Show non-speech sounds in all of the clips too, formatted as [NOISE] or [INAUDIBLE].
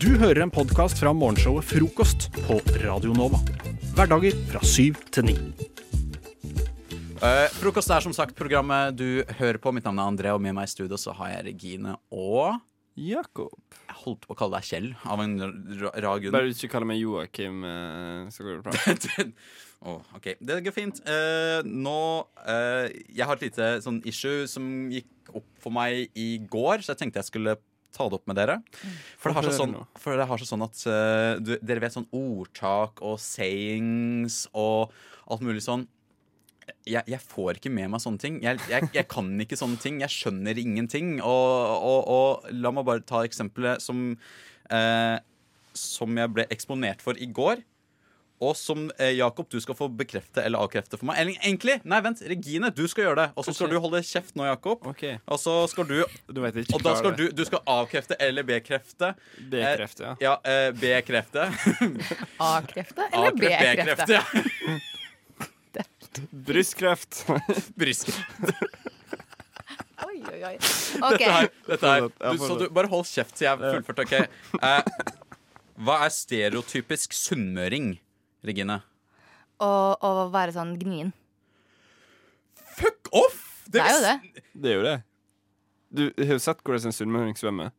Du hører en podkast fra morgenshowet Frokost på Radio Nova. Hverdager fra syv til ni. Eh, frokost er som sagt programmet du hører på. Mitt navn er André, og med meg i studio så har jeg Regine og Jakob. Jeg holdt på å kalle deg Kjell, av en ra- rar grunn. Bare du ikke kaller meg Joakim, eh, så går det [LAUGHS] bra. Den- Åh, ok, Det går fint. Eh, nå eh, Jeg har et lite sånn issue som gikk opp for meg i går, så jeg tenkte jeg skulle ta det opp med dere. For det har seg Hør sånn, nå. for det har seg sånn at eh, du, dere vet sånn ordtak og sayings og alt mulig sånn. Jeg, jeg får ikke med meg sånne ting. Jeg, jeg, jeg kan ikke sånne ting. Jeg skjønner ingenting. Og, og, og la meg bare ta eksempelet som, eh, som jeg ble eksponert for i går. Og som eh, Jakob, du skal få bekrefte eller avkrefte for meg. Eller egentlig, nei, vent, Regine, du skal gjøre det. Og så skal Ok. du holde kjeft nå, Jakob. OK. Og så skal du Og Du vet ikke da hva skal du, det du skal avkrefte eller bekrefte. Bekrefte, ja. Ja, eh, bekrefte. A-krefte eller B-krefte? ja. [LAUGHS] Brystkreft. [LAUGHS] Brysk. Oi, oi, oi. Ok, Dette her, dette her. Ja, Du, så du, bare hold kjeft til jeg har fullført, OK? Eh, hva er stereotypisk sunnmøring, Regine? og, og være sånn gnien. Fuck off! Det er jo det. Det er jo det. Du har jo sett hvordan en sunnmøring svømmer.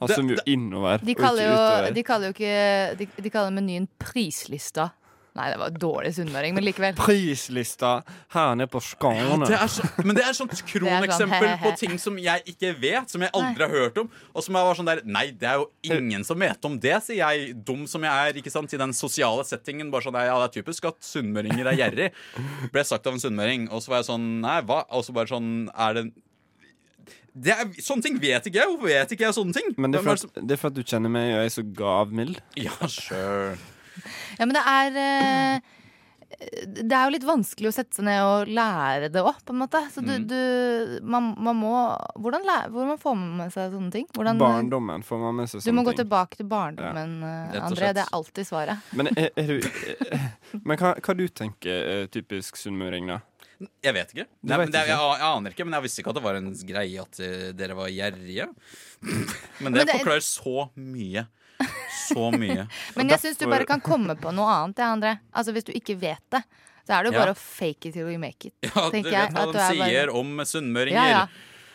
Han Det- svømmer jo innover. De og kaller ikke jo, utover. de kaller jo ikke de, de kaller menyen prislista. Nei, det var dårlig sunnmøring, men likevel. Prislista her nede på Skåne. Det er så, men det er sånn kroneksempel på ting som jeg ikke vet, som jeg aldri har hørt om. Og som jeg var sånn der Nei, det er jo ingen som vet om det, sier jeg, dum som jeg er, ikke sant, i den sosiale settingen. Bare sånn Ja, det er typisk at sunnmøringer er gjerrig, ble sagt av en sunnmøring. Og så var jeg sånn Nei, hva? Og så bare sånn Er det det er, sånne ting vet ikke jeg. Hvorfor vet ikke jeg sånne ting? Men det er, Hvem for er som- at, det er for at du kjenner meg, og jeg er så gavmild. Ja, sure. Ja, men det er eh, Det er jo litt vanskelig å sette seg ned og lære det òg, på en måte. Så du, Mm. du man, man må Hvordan, lære, hvordan får man med seg sånne ting? Hvordan, Barndommen får man Altså, med seg Du må sånne gå ting. tilbake til barndommen, eh, Rett og André. slett. Det er alltid svaret. Men, er, er du, [LAUGHS] men hva, hva du tenker eh, typisk sunnmøring, da? Jeg vet ikke. Du Nei, vet men det, ikke. jeg, jeg aner ikke, men jeg visste ikke at det var en greie at eh, dere var gjerrige. [LAUGHS] Men det, Men det er- forklarer så mye. [LAUGHS] Så mye. Men Og jeg syns du derfor- bare kan komme på noe annet, ja, André. Altså, hvis du ikke vet det, så er det jo Ja. bare å fake it till you make it. [LAUGHS] Ja, du tenker vet jeg hva at de du er bare- sier om sunnmøringer. Ja, ja.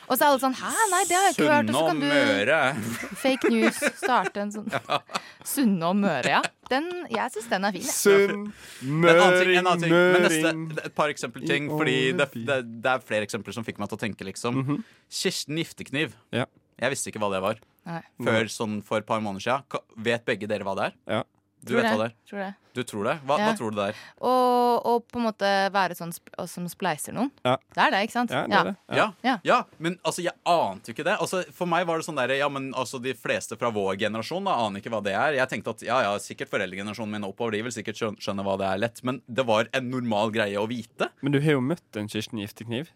Og så er alle sånn Hæ, nei, det har jeg ikke hørt. Og så Sunne og kan du Møre. [LAUGHS] [LAUGHS] Fake news, starte en sånn [LAUGHS] Sunne og Møre, ja. Den, jeg syns den er fin. jeg. En annen Sunnmøring, ting, en annen ting. Men neste, et par eksempelting, I fordi det, Åleby. det, det er flere eksempler som fikk meg til å tenke, liksom. Mhm. Kirsten Giftekniv. Ja. Jeg visste ikke hva det var Nei, før sånn for et par måneder siden. Ka- Vet begge dere hva det er? Ja. Du vet tror hva det det, er. Tror det. Du tror det? Hva, Ja. hva tror du det er? Og, og på en måte være sånn sp og som spleiser noen. Ja. Det er det, ikke sant? Ja, det er det. Ja. Ja. Ja. men altså, jeg ante jo ikke det. Altså, for meg var det sånn der, ja, men altså, De fleste fra vår generasjon da, aner ikke hva det er. Jeg tenkte at ja, ja, sikkert foreldregenerasjonen min oppover, de vil sikkert skjøn- skjønne hva det er lett. Men det var en normal greie å vite. Men du har jo møtt en Kirsten Giftekniv.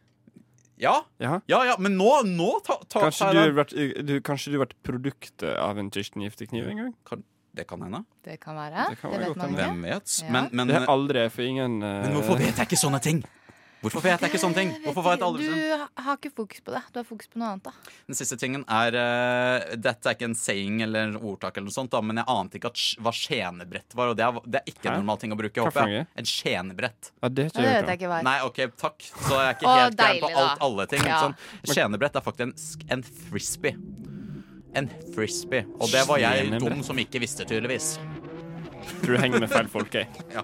Ja, Ja. ja, ja men nå, nå ta, ta, Kanskje ta du har vært, du, kanskje du har vært produktet av en Kirsten Giftekniv en gang? kan, Det kan hende. Det kan være. Det Det, kan være godt vet man hende. ikke. Hvem vet? Ja. Men, men, Det har aldri for ingen eh, men hvorfor vet jeg ikke sånne ting? Hvorfor vet jeg ikke sånne ting? Hvorfor vet jeg aldri sånn? Du ha- har ikke fokus på det. Du har fokus på noe annet, da. Den siste tingen er eh, Dette er ikke en saying eller ordtak, eller noe sånt da, men jeg ante ikke at, sj- hva skjenebrett var. Og det er, det er ikke Hæ? en normal ting å bruke. Hva for håper jeg. noe? En skjenebrett. Ja, det Ja, har det vet jeg ikke jeg hørt om. ikke hva er. Nei, OK, takk. Så jeg er ikke Å, helt gæren på deilig, alt, da. alle ting. Ja. Sånn. Skjenebrett er faktisk en frisbee. En frisbee. Og det var jeg Skjenebrett. dum som ikke visste, tydeligvis. Tror du henger med feil folk, jeg. [LAUGHS] Ja.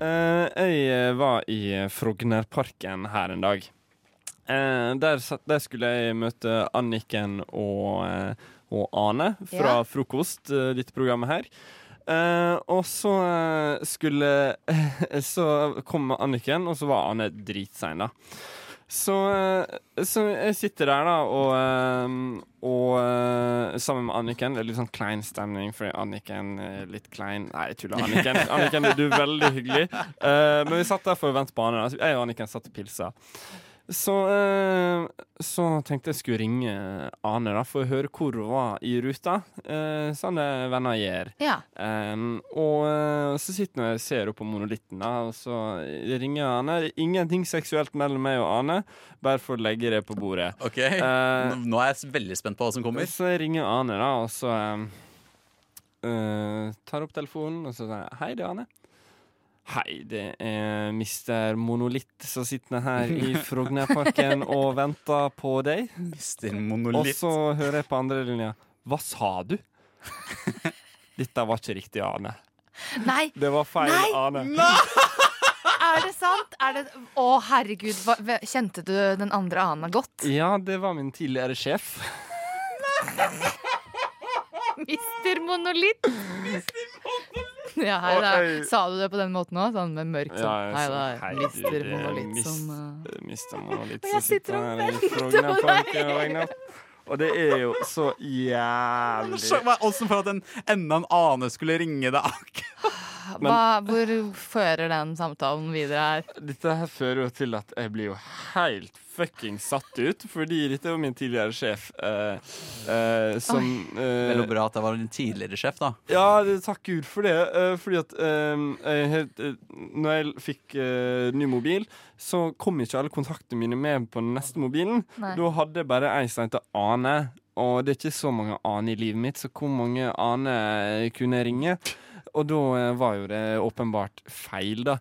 Eh, jeg eh, var i eh, Frognerparken her en dag. Eh, der, satt, der skulle jeg møte Anniken og, eh, og Ane fra Ja. Frokost, eh, dette programmet her. Eh, og så eh, skulle [LAUGHS] Så kom Anniken, og så var Anne dritsein, da. Så, eh, så jeg sitter der, da, og, eh, og eh, sammen med Anniken. Det er litt sånn klein stemning, fordi Anniken er litt klein. Nei, jeg tuller. Anniken, Anniken du er veldig hyggelig. Eh, men vi satt der for å vente på Anne. Da. Jeg og Anniken satt og pilsa. Så, eh, så tenkte jeg skulle ringe Ane da, for å høre hvor hun var i ruta, eh, sånn eh, venner gjør. Ja. Um, og eh, så sitter jeg og ser opp på monolitten, da, og så ringer jeg Ane. Det er Ingenting seksuelt mellom meg og Ane, bare for å legge det på bordet. Ok, Eh. Nå er jeg s- veldig spent på hva som kommer. Så jeg ringer Ane, da, og så um, eh, tar opp telefonen, og så sier jeg hei, det er Ane. Hei, det er Mr. Monolitt som sitter her [LAUGHS] i Frognerparken og venter på deg. Mister Og monolitt. så hører jeg på andre linja. Hva sa [LAUGHS] du? Dette var ikke riktig, Ane. Nei, Det var feil, Nei! Ane. er det sant? Er det... Å, herregud. Hva... Kjente du den andre Ana godt? Ja, det var min tidligere sjef. Mister Monolitt. Ja, hei da. Sa du det på den måten òg? Sånn med mørkt sånn. Ja, jeg Hei da, sa, hei, du, Mister det er Monolitt mist- som eh, Mista monolitt. Og jeg så sitter og her i venter på Frognerparken deg. og regner. Og det er jo så jævlig Åssen altså, for at en, enda en ane skulle ringe deg? ak- men- Hva, Hvor fører den samtalen videre her? Dette her fører jo til at jeg blir jo helt fucking satt ut, fordi dette var min tidligere sjef eh, eh, som eh, Veldig bra at jeg var en tidligere sjef, da. Ja, det- takk Gud for det. eh, fordi at eh, jeg, helt, eh, Når jeg fikk eh, ny mobil, så kom ikke alle kontaktene mine med på den neste mobilen. Nei. Da hadde jeg bare ei som heter Ane. Og det er ikke så mange Ane i livet mitt, så hvor mange Ane kunne jeg ringe? Og da eh, var jo det åpenbart feil, da.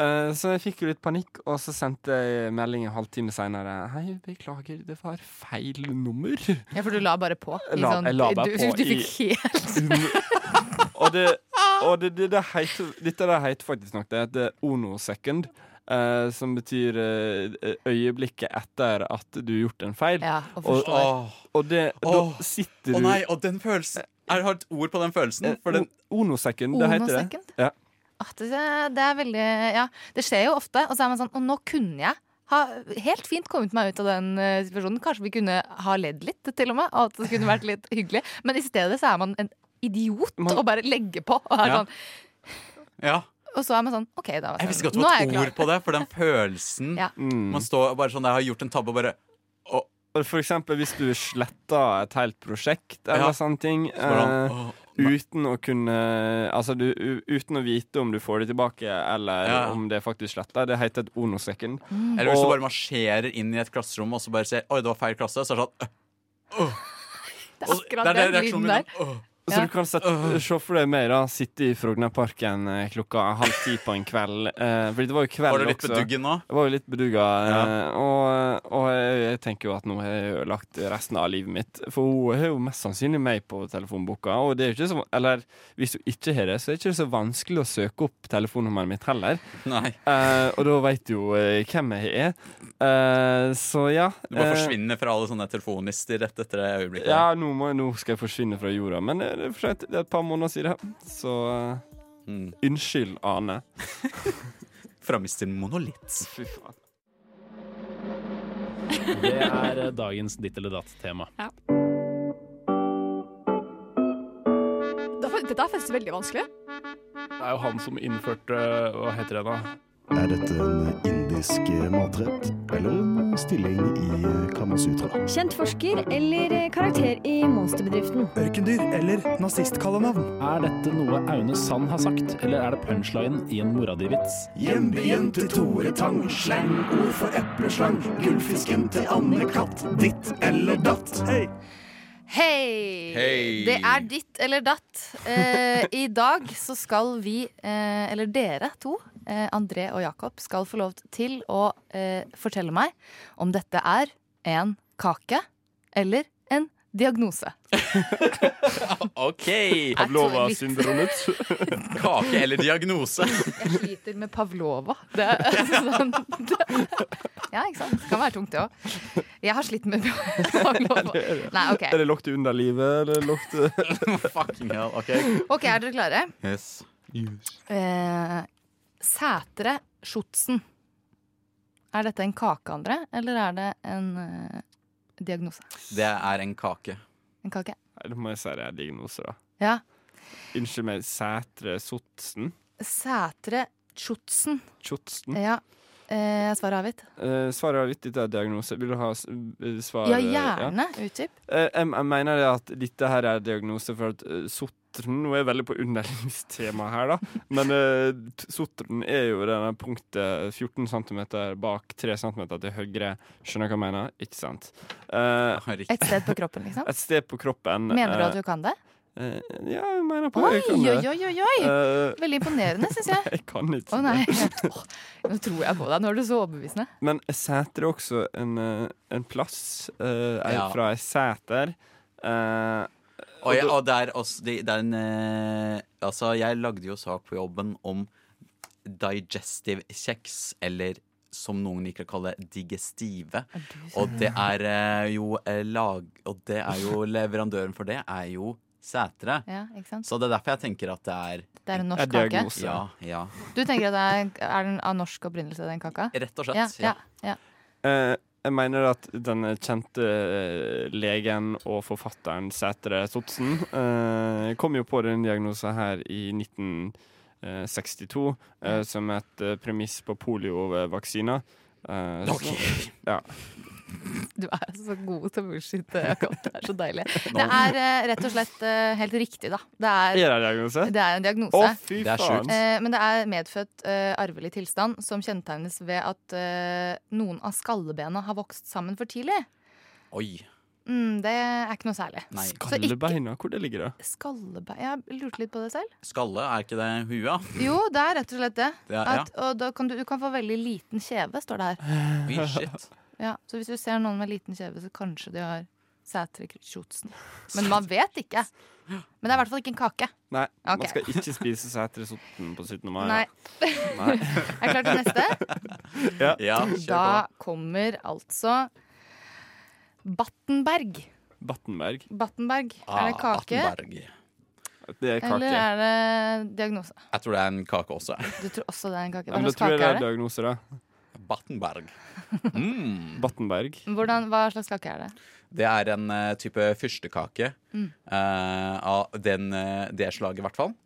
Eh, Så jeg fikk jo litt panikk, og så sendte jeg melding en halvtime seinere. Hei, beklager, det var feil nummer. Ja, for du la bare på. i Jeg la- jeg la bare du, på Du fikk i- helt og det, og det, det, det heter, dette der heter faktisk nok det heter ono second, eh, som betyr eh, øyeblikket etter at du har gjort en feil. Ja, Og- og forstår. Og det, Åh. da sitter Å du nei, og den følelsen Er har et ord på den følelsen? For den, Ono second, det heter det. Onosecond? Ja. At det, det er veldig Ja, det skjer jo ofte. Og så er man sånn Og nå kunne jeg ha helt fint kommet meg ut av den eh, situasjonen. Kanskje vi kunne ha ledd litt, til og med. Og at det kunne vært litt hyggelig. Men i stedet så er man en idiot Man- og bare legger på. Og, er Ja. sånn, ja. og så er man sånn OK, da. Jeg visste ikke at det nå var er jeg et klar. ord på det, for den følelsen Ja. Mm. Man står bare sånn der, har gjort en tabbe og bare Og For eksempel hvis du sletter et helt prosjekt eller Ja. sånne ting. eh, hvordan, åh, nei. Uten å kunne Altså du, u- uten å vite om du får det tilbake, eller Ja. om det er faktisk sletta. Det heter et ono second. Mm. Eller hvis du og- bare marsjerer inn i et klasserom og så bare ser Oi, det var feil klasse. Så er det sånn øh, Det og er så- akkurat det den lyden der. Åh. Så Ja. du kan sette, se for deg meg da sitte i Frognerparken eh, klokka halv ti på en kveld. Eh, fordi det var jo kveld Var du litt også. beduggen nå? Jeg var jo litt bedugga. eh, Og, og jeg, jeg tenker jo at nå har jeg ødelagt resten av livet mitt. For hun har jo mest sannsynlig meg på telefonboka. Og det er jo ikke så, eller hvis hun ikke har det, så er det ikke så vanskelig å søke opp telefonnummeret mitt heller. Nei. Eh, og da veit du jo eh, hvem jeg er. Eh, så ja. Du bare eh, forsvinner fra alle sånne telefonlister rett etter det øyeblikket. Ja, nå, må, nå skal jeg forsvinne fra jorda. Men eh, det er for sent. Det er et par måneder siden. Så eh, Mm. Unnskyld, Ane. [LAUGHS] Fra Mr. Monolitt. Fy faen. Det er eh, [LAUGHS] dagens ditt eller datt-tema. Det er fa- Dette er faktisk veldig vanskelig. Det er jo han som innførte Hva heter det da? Er dette en indisk matrett eller en stilling i Kamasutra? Kjent forsker eller eh, karakter i monsterbedriften? Ørkendyr eller nazistkallenavn. Er dette noe Aune Sand har sagt, eller er det punchline i en mora di-vits? Hjembyen til Tore Tang, slangord for epleslang, gullfisken til Anne-Katt, ditt eller datt. Hei! Hei! Hei! Det er ditt eller datt. Eh, I dag så skal vi, eh, eller dere to, eh, André og Jakob, skal få lov til å eh, fortelle meg om dette er en kake eller en diagnose. OK! Jeg tror litt- syndromet. Kake eller diagnose? [LAUGHS] Jeg sliter med Pavlova. Det er, altså, sånn, det, Ja, ikke sant? Det kan være tungt, det òg. Jeg har slitt med [LAUGHS] [LAUGHS] bakloven. Nei, OK. Er det lukt i underlivet, eller lukt [LAUGHS] Fucking hell, ok Ok, Er dere klare? yes. Eh, Sætre Sjotsen. Er dette en kake, André, eller er det en eh, diagnose? Det er en kake En kake? Nei, Da må jeg si det er diagnose, da. Ja. Unnskyld meg, Sætre Sotsen? Sætre Sjotsen. Tjotsen? Ja. Eh, svaret avgitt? Eh, svaret er litt dette er diagnose. Vil du ha s- eh, svar? Ja, eh, gjerne. Utdyp. Eh, jeg, jeg mener det at dette her er diagnose for at eh, Sotren Nå er jeg veldig på underlivstemaet her, da. Men eh, t- Sotren er jo denne punktet 14 cm bak 3 cm til høyre. Skjønner du hva jeg mener? Ikke sant? Eh, Riktig. Et sted på kroppen, liksom. et sted på kroppen Mener du eh, at du kan det? eh, Ja, jeg mener på Oi, jeg kan oi, det. oi, oi! oi. Eh, Veldig imponerende, syns [LAUGHS] jeg. jeg kan ikke Å nei. Åh, [LAUGHS] nå tror jeg på deg. Nå er du så overbevisende. Men seter er også en, eh, en plass eh, er Ja. fra ei seter. Eh, Og, jeg, og det er også det, det er en, eh, Altså, jeg lagde jo sak på jobben om digestive kjeks, eller som noen liker å kalle digestive. Og det er eh, jo eh, lag... Og det er [LAUGHS] jo leverandøren for det er jo Sætre. Ja, ikke sant? Så det er derfor jeg tenker at det er Det er en er norsk kake. diagnose. Ja, ja. Du tenker at det er, er den av norsk opprinnelse, den kaka? Rett og Ja, slett. ja, Ja. ja. Eh, jeg mener at den kjente eh, legen og forfatteren Sætre Sotsen eh, kom jo på den diagnosen her i 1962 eh, som et eh, premiss på poliovaksiner. Eh, så- ja. Du er så god til å [LAUGHS] bullshitte, Jakob. Det er så deilig. Det er eh, rett og slett eh, helt riktig, da. Det Er er, det en diagnose? det er Å, en diagnose. fy Det er faen! sjukt. Eh, men det er medfødt eh, arvelig tilstand som kjennetegnes ved at eh, noen av skallebena har vokst sammen for tidlig. Oi. Mm, det er ikke noe særlig. Nei. Så ikke- Skallebeina, hvor det ligger det? Skallebein Jeg lurte litt på det selv. Skalle, er ikke det hua? Jo, det er rett og slett det. Det er, ja. At, og da kan du, du kan få veldig liten kjeve, står det her. Oi, shit. Ja, så hvis du ser noen med liten kjeve, så kanskje de har Sætre Sjotsen. Men man vet ikke. Men det er i hvert fall ikke en kake. Nei, Ok. man skal ikke spise Sætre Sotsen på 17. mai. Nei. Nei. [LAUGHS] Er jeg klar til [LAUGHS] neste? Ja, Da kjør på. kommer altså Battenberg. Battenberg. Battenberg. Er det Ah, kake, Attenberg. Det er eller kake. er det diagnose? Jeg tror det er en kake også. Du tror også det er en kake. Ja, Hva men da slags tror jeg det kake er er det? diagnose, da. [LAUGHS] Battenberg. Mm. Battenberg. Hvordan, hva slags kake er det? Mm. Det er en eh, type fyrstekake eh, av den, eh, det slaget, i hvert fall.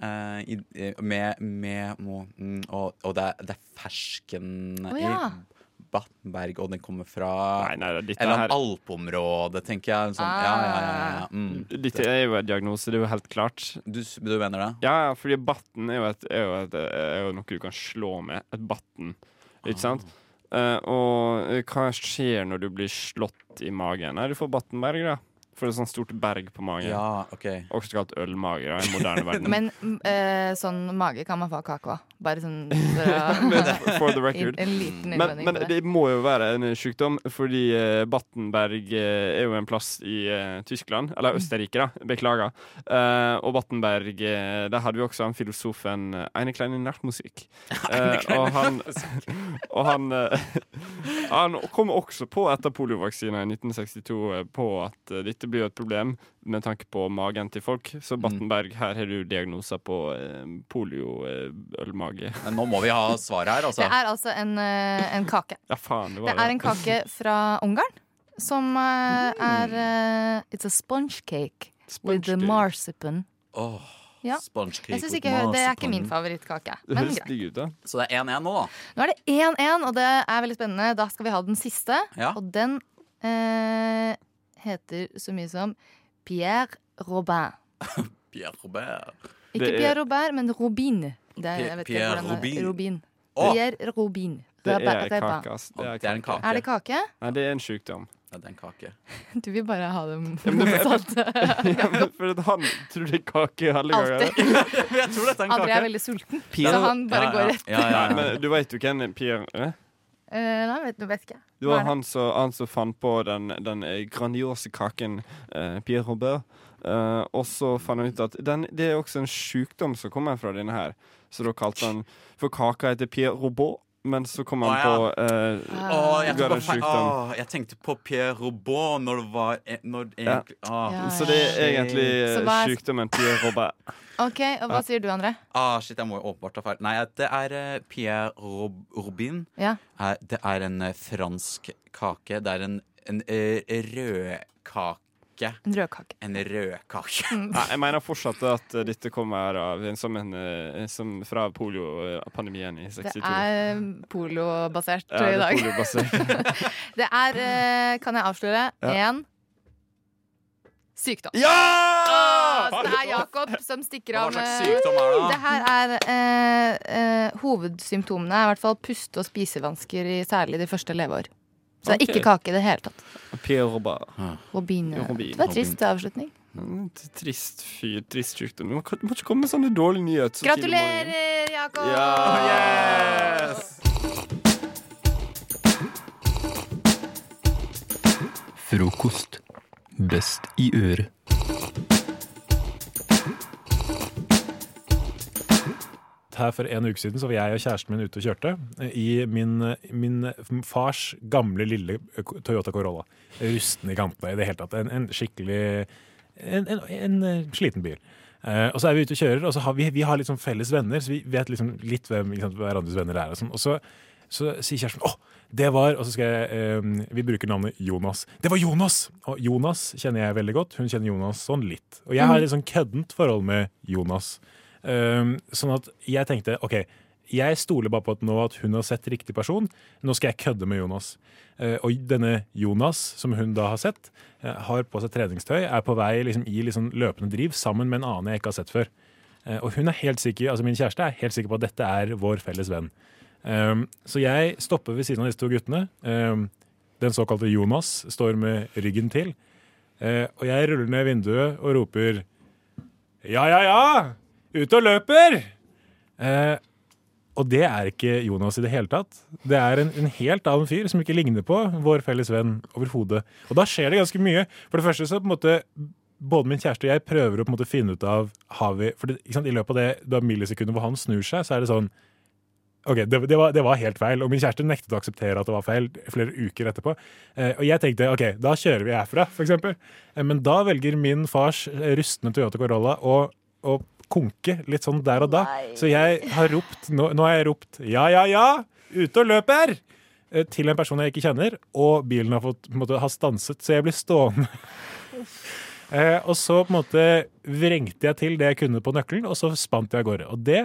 Eh, i, eh, med, med må, mm, Og, og det, er, det er fersken Å, ja. i Battenberg, og den kommer fra Nei, nei, dette Eller her annet alpeområde, tenker jeg. Sånn, ja, ja, ja, ja, ja. Mm. Dette er jo en diagnose, det er jo helt klart. Du, du mener det? Ja, ja, fordi batten er jo, et, er, jo et, eh, er jo noe du kan slå med. Et batten, Ah. ikke sant? Eh, og eh, hva skjer når du blir slått i magen? Nei, du får battenberg, da. Får et sånt stort berg på magen. Ja, OK. Også kalt ølmage da, i [LAUGHS] moderne verden. Men mm, eh, sånn mage kan man få av kake òg. Bare sånn [LAUGHS] for [LAUGHS] å, For the en, record. [LAUGHS] en liten Men, innvending men på det. det må jo være en sykdom, fordi eh, Battenberg eh, er jo en plass i eh, Tyskland, eller Mm. Østerrike, da. Beklager. Eh, og Battenberg eh, Der hadde vi også han filosofen eh, Eine kleine Nachtmusik. Eh, og han, og han, eh, [LAUGHS] han kom også på etter poliovaksina i 1962 eh, på at eh, dette blir jo et problem med tanke på magen til folk. Så Mm. Battenberg, her har du diagnoser på eh, polioølmage. Men nå må vi ha svar her, altså. Det er altså en, eh, en kake. Ja, faen, det Det var er en [LAUGHS] kake fra Ungarn som eh, er eh, It's a sponge cake with the Sponge cake. marsipan. Åh, Ja. Sponge cake Jeg synes with ikke, Det er ikke marsipan. min favorittkake. Det Men høres greit. digg ut, da. Så det er 1-1 nå, da. Nå er det 1-1, og det er veldig spennende. Da skal vi ha den siste, Ja. og den eh, heter så mye som Pierre Robin. Pierre Robert. Ikke Det er- Pierre Robert, men Robin. Det er, jeg vet ikke Pierre hvordan det er. Robin. Robin. Åh! Pierre Robin. Det er Robin. kake, altså. ass. Det er en kake. Er det kake? Nei, det er en sykdom. [LAUGHS] Ja, det er en kake. [LAUGHS] Du vil bare ha dem men [LAUGHS] det- [LAUGHS] motsatte. For at han tror det er kake alle ganger. Alltid. [LAUGHS] [LAUGHS] Jeg tror dette er en André er kake. veldig sulten, Pierre- så han bare Ja, går ja. rett. Ja, ja, Nei, ja. men du vet jo hvem Pierre er? Eh, nei, vet, vet ikke. Det Hva var er det? han som, han som fant på den, den eh, grandiose kaken eh, Pierre Robert. Eh, og så fant han ut at den, det er også en sykdom som kommer fra denne her. Så da kalte han For kaka heter Pierre Robot. men så kom han Å, ja. på eh, Ah. Åh, jeg, tok bare feil. Garasjesykdom. Åh, jeg tenkte på Pierre Robot når det var e- når Ja. egentlig, Åh. Ja, Så det er egentlig Så eh, hva er- sykdommen Pierre [LAUGHS] Robert. Ok, Og hva sier du, André? Ah, shit, jeg må jo åpenbart ta feil. Nei, det er eh, Pierre Rob Robin. Ja. Er- Det er en eh, fransk kake. Det er en, en eh, rødkake. En rødkake. En rødkake. Mm. Nei, jeg mener fortsatt at eh, dette kommer av, som en, eh, som fra poliopandemien i 62. Det er um, polobasert Ja, det i er dag. poliobasert. [LAUGHS] Det er, eh, kan jeg avsløre, én Ja. sykdom. ja! Åh, så det er Jakob som stikker Hva av slags med sykdom er det? det da? her er eh, eh, hovedsymptomene er i hvert fall puste- og spisevansker i særlig de første leveår. Så det er ikke kake i det hele tatt. Pierre Robert. Robine. Robin. Det var trist avslutning. Mm, Trist fyr, trist sykdom. Du må, du må ikke komme med sånne dårlige nyheter. så tidlig om morgenen. Gratulerer, Jakob! Ja! Frokost. Best i øret. Her for en uke siden så var jeg og kjæresten min ute og kjørte eh, i min, min eh, fars gamle lille eh, Toyota Corolla. Rusten i kantene i det hele tatt. En, en skikkelig en, en, en eh, sliten bil. Eh, og så er vi ute og kjører, og så har vi, vi har liksom felles venner, så vi vet liksom litt hvem ikke sant, hverandres venner er. Og, sånn. og så, så sier kjæresten 'Å, det var' Og så skal jeg eh, Vi bruker navnet Jonas. 'Det var Jonas!' Og Jonas kjenner jeg veldig godt. Hun kjenner Jonas sånn litt. Og jeg har et litt sånn køddent forhold med Jonas. Eh, sånn at jeg tenkte OK. Jeg stoler bare på at nå at hun har sett riktig person, nå skal jeg kødde med Jonas. Eh, og denne Jonas, som hun da har sett, eh, har på seg treningstøy, er på vei liksom, i liksom, løpende driv sammen med en annen jeg ikke har sett før. Eh, og hun er helt sikker, altså min kjæreste er helt sikker på at dette er vår felles venn. Um, så jeg stopper ved siden av disse to guttene. Um, den såkalte Jonas står med ryggen til. Eh, og jeg ruller ned vinduet og roper Ja, ja, ja! Ut og løper! Eh, og det er ikke Jonas i det hele tatt. Det er en, en helt annen fyr som ikke ligner på vår felles venn overhodet. Og da skjer det ganske mye. For det første så på en måte både min kjæreste og jeg prøver å på en måte finne ut av har vi, For det, ikke sant, i løpet av det da millisekundet hvor han snur seg, så er det sånn OK, det, det, var, det var helt feil. Og min kjæreste nektet å akseptere at det var feil flere uker etterpå. Eh, og jeg tenkte OK, da kjører vi herfra, f.eks. Eh, men da velger min fars eh, rustne Toyota Corolla å, å konke litt sånn der og da. Så jeg har ropt nå, nå har jeg ropt ja, ja, ja, ute og løper! eh, Til en person jeg ikke kjenner, og bilen har fått, på en måte, har stanset, så jeg blir stående. Eh, og så på en måte vrengte jeg til det jeg kunne på nøkkelen, og så spant jeg av gårde. Og det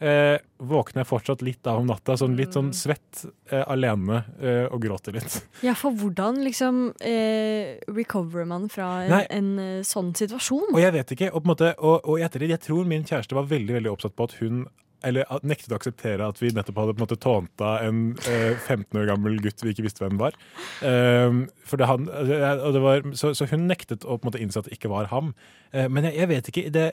eh, våkner jeg fortsatt litt av om natta, sånn litt sånn svett, eh, alene, eh, og gråter litt. Ja, for hvordan liksom eh, recoverer man fra en, Nei. en eh, sånn situasjon? Og [LAUGHS] jeg vet ikke, og på en måte, og, og i ettertid, jeg tror min kjæreste var veldig, veldig oppsatt på at hun eller at- nektet å akseptere at vi nettopp hadde på en måte tånta en eh, 15 år gammel gutt vi ikke visste hvem var. Ehm, for det han, og det var så, så hun nektet å på en måte innse at det ikke var ham. Eh, men jeg, jeg vet ikke det,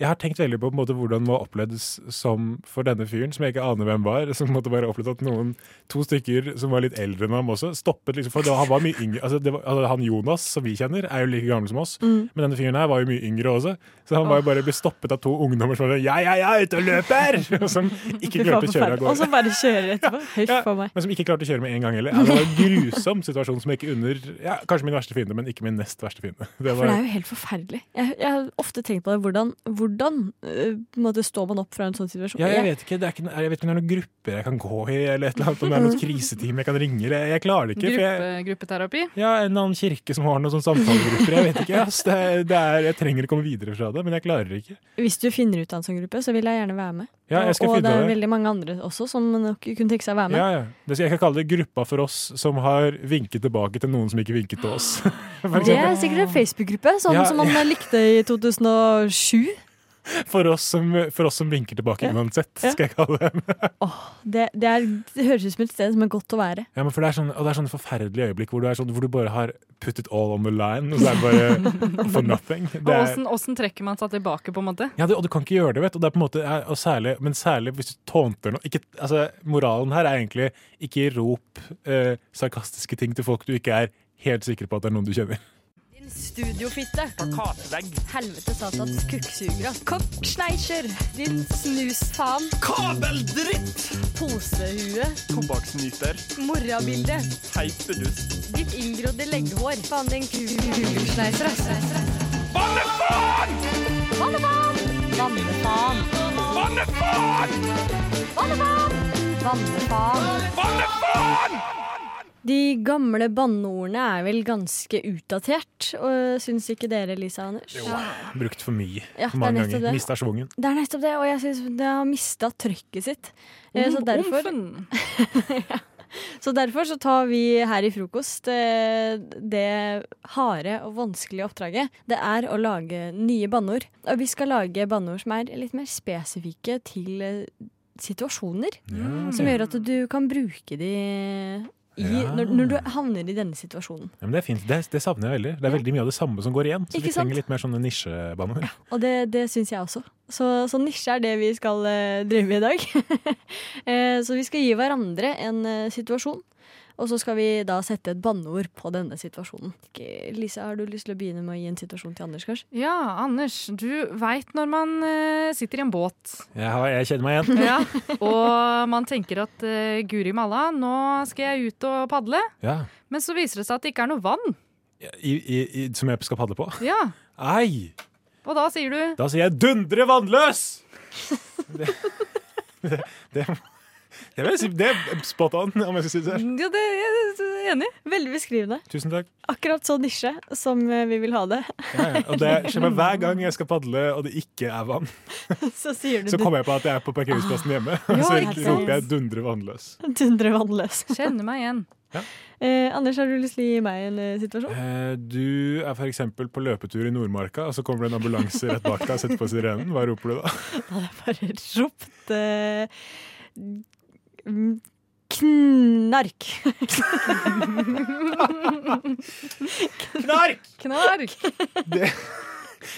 Jeg har tenkt veldig på, på en måte, hvordan det var opplevd s- som for denne fyren, som jeg ikke aner hvem var. Som på en måte bare opplevde at noen to stykker som var litt eldre enn ham også, stoppet liksom, for det, var- han var mye yngre. Altså, det var, altså, han Jonas, som vi kjenner, er jo like gammel som oss. Mm. Men denne fyren her var jo mye yngre også, så han var jo bare ble stoppet av to ungdommer som var sånn, ja, ja, ja, ute og løper! [LAUGHS] Og som ikke Fy faen, klarte å kjøre av forferdelig. Og så gårde. bare kjører etterpå. Huff a meg. Men som ikke klarte å kjøre med en gang heller. Ja, det var en grusom situasjon som jeg ikke unner ja, Kanskje min verste fiende, men ikke min nest verste fiende. Det For det er var, jo helt forferdelig. Jeg, jeg har ofte tenkt på det. Hvordan, hvordan eh, på en måte står man opp fra en sånn situasjon? ja, jeg vet ikke det er ikke, noe- jeg vet ikke om det er noen grupper jeg kan gå i, eller et eller annet, om det er noe kriseteam jeg kan ringe. eller- Jeg klarer det ikke. For jeg, Gruppe, gruppeterapi. ja, En annen kirke som har noen sånne samtalegrupper. Jeg vet ikke, ass. Det er, det er, jeg trenger å komme videre fra det, men jeg klarer det ikke. Hvis du finner ut av en sånn gruppe, så vil jeg gjerne være med. Ja, jeg skal og og finne det ut av er det. veldig mange andre også som nok kunne tenke seg å være med. Ja, ja. Det skal jeg kan kalle det gruppa for oss som har vinket tilbake til noen som ikke vinket til [GASPS] oss. [LAUGHS] For, Det er eksempel. sikkert en Facebook-gruppe, sånn Ja, som man ja. likte i 2007. for, oss som, for oss som vinker tilbake uansett, Ja. skal jeg kalle dem. Det, det, er, det høres ut som et sted som er godt å være. Ja, men for det er sånn, og det er sånne forferdelige øyeblikk hvor du, er sånn, hvor du bare har put it all on the line, og så er det bare [LAUGHS] for nothing. Og [LAUGHS] Det er, åssen, åssen trekker man seg tilbake, på en måte? ja, det, og du kan ikke gjøre det, vet du. Og det er på en måte, er- og særlig, men særlig hvis du tånter noe. Ikke, altså, moralen her er egentlig ikke rop eh, sarkastiske ting til folk du ikke er helt sikker på at det er noen du kjenner. Din studiofitte. Plakatvegg. Helvete satans kukksugere. Koppsneisjer. Din snusfaen. Ah, Kabeldritt! Posehue. Tobakksnyter. Morrabilde. Teipedust. Ditt inngrodde legghår. Faen, din kugelsneiser, ass. Bannefaen! Vannefaen! Vannefaen! Bannefaen! Vannefaen! Vannefaen! De gamle banneordene er vel ganske utdatert, og syns ikke dere, Lisa og Anders? Brukt for mye. Ja, det er mange nettopp ganger. det. Mista schwungen. Det er nettopp det, og jeg syns det har mista trøkket sitt. Eh, Så Om- derfor [LAUGHS] Ja. Så derfor så tar vi her i frokost eh, det harde og vanskelige oppdraget. Det er å lage nye banneord. Og vi skal lage banneord som er litt mer spesifikke til eh, situasjoner. Mm. Som gjør at du kan bruke de i, Ja. når, når du havner i denne situasjonen. Ja, men det er fint. Det, det savner jeg veldig. Det er veldig mye av det samme som går igjen. Så Ikke vi sant? trenger litt mer sånne nisjebanner. Og det, det syns jeg også. Så, så nisje er det vi skal eh, drive med i dag. [LAUGHS] Eh, så vi skal gi hverandre en eh, situasjon, og så skal vi da sette et banneord på denne situasjonen. Ikke- Lisa, har du lyst til å begynne med å gi en situasjon til Anders, kanskje? Ja, Anders, du veit når man eh, sitter i en båt, [LAUGHS] Jeg, har, jeg kjenner meg igjen. ja, og man tenker at eh, guri malla, nå skal jeg ut og padle, Ja. men så viser det seg at det ikke er noe vann. I, i, i, som jeg skal padle på. Ja, Ei! Og da sier du Da sier jeg 'dundre vannløs'! Det, det, det, det vil jeg si. Det er spot on, om jeg skal si det selv. Ja, det er jeg enig Veldig beskrivende. Tusen takk. Akkurat så nisje som eh, vi vil ha det. Ja, ja. Og det skjer meg hver gang jeg skal padle og det ikke er vann. [LAUGHS] Så sier du Så kommer jeg på at jeg er på parkeringsplassen hjemme, Ah, ja, så ikke sant. roper jeg 'dundre vannløs'. Dundre vannløs. Kjenner meg igjen. Eh, Anders, har du lyst til å gi meg en eh, situasjon? Eh, Du er f.eks. på løpetur i Nordmarka, og så kommer det en ambulanse rett bak deg og setter på sirenen. Hva roper du da? Da hadde jeg bare ropt eh, mm, Knark. Knark! Knark!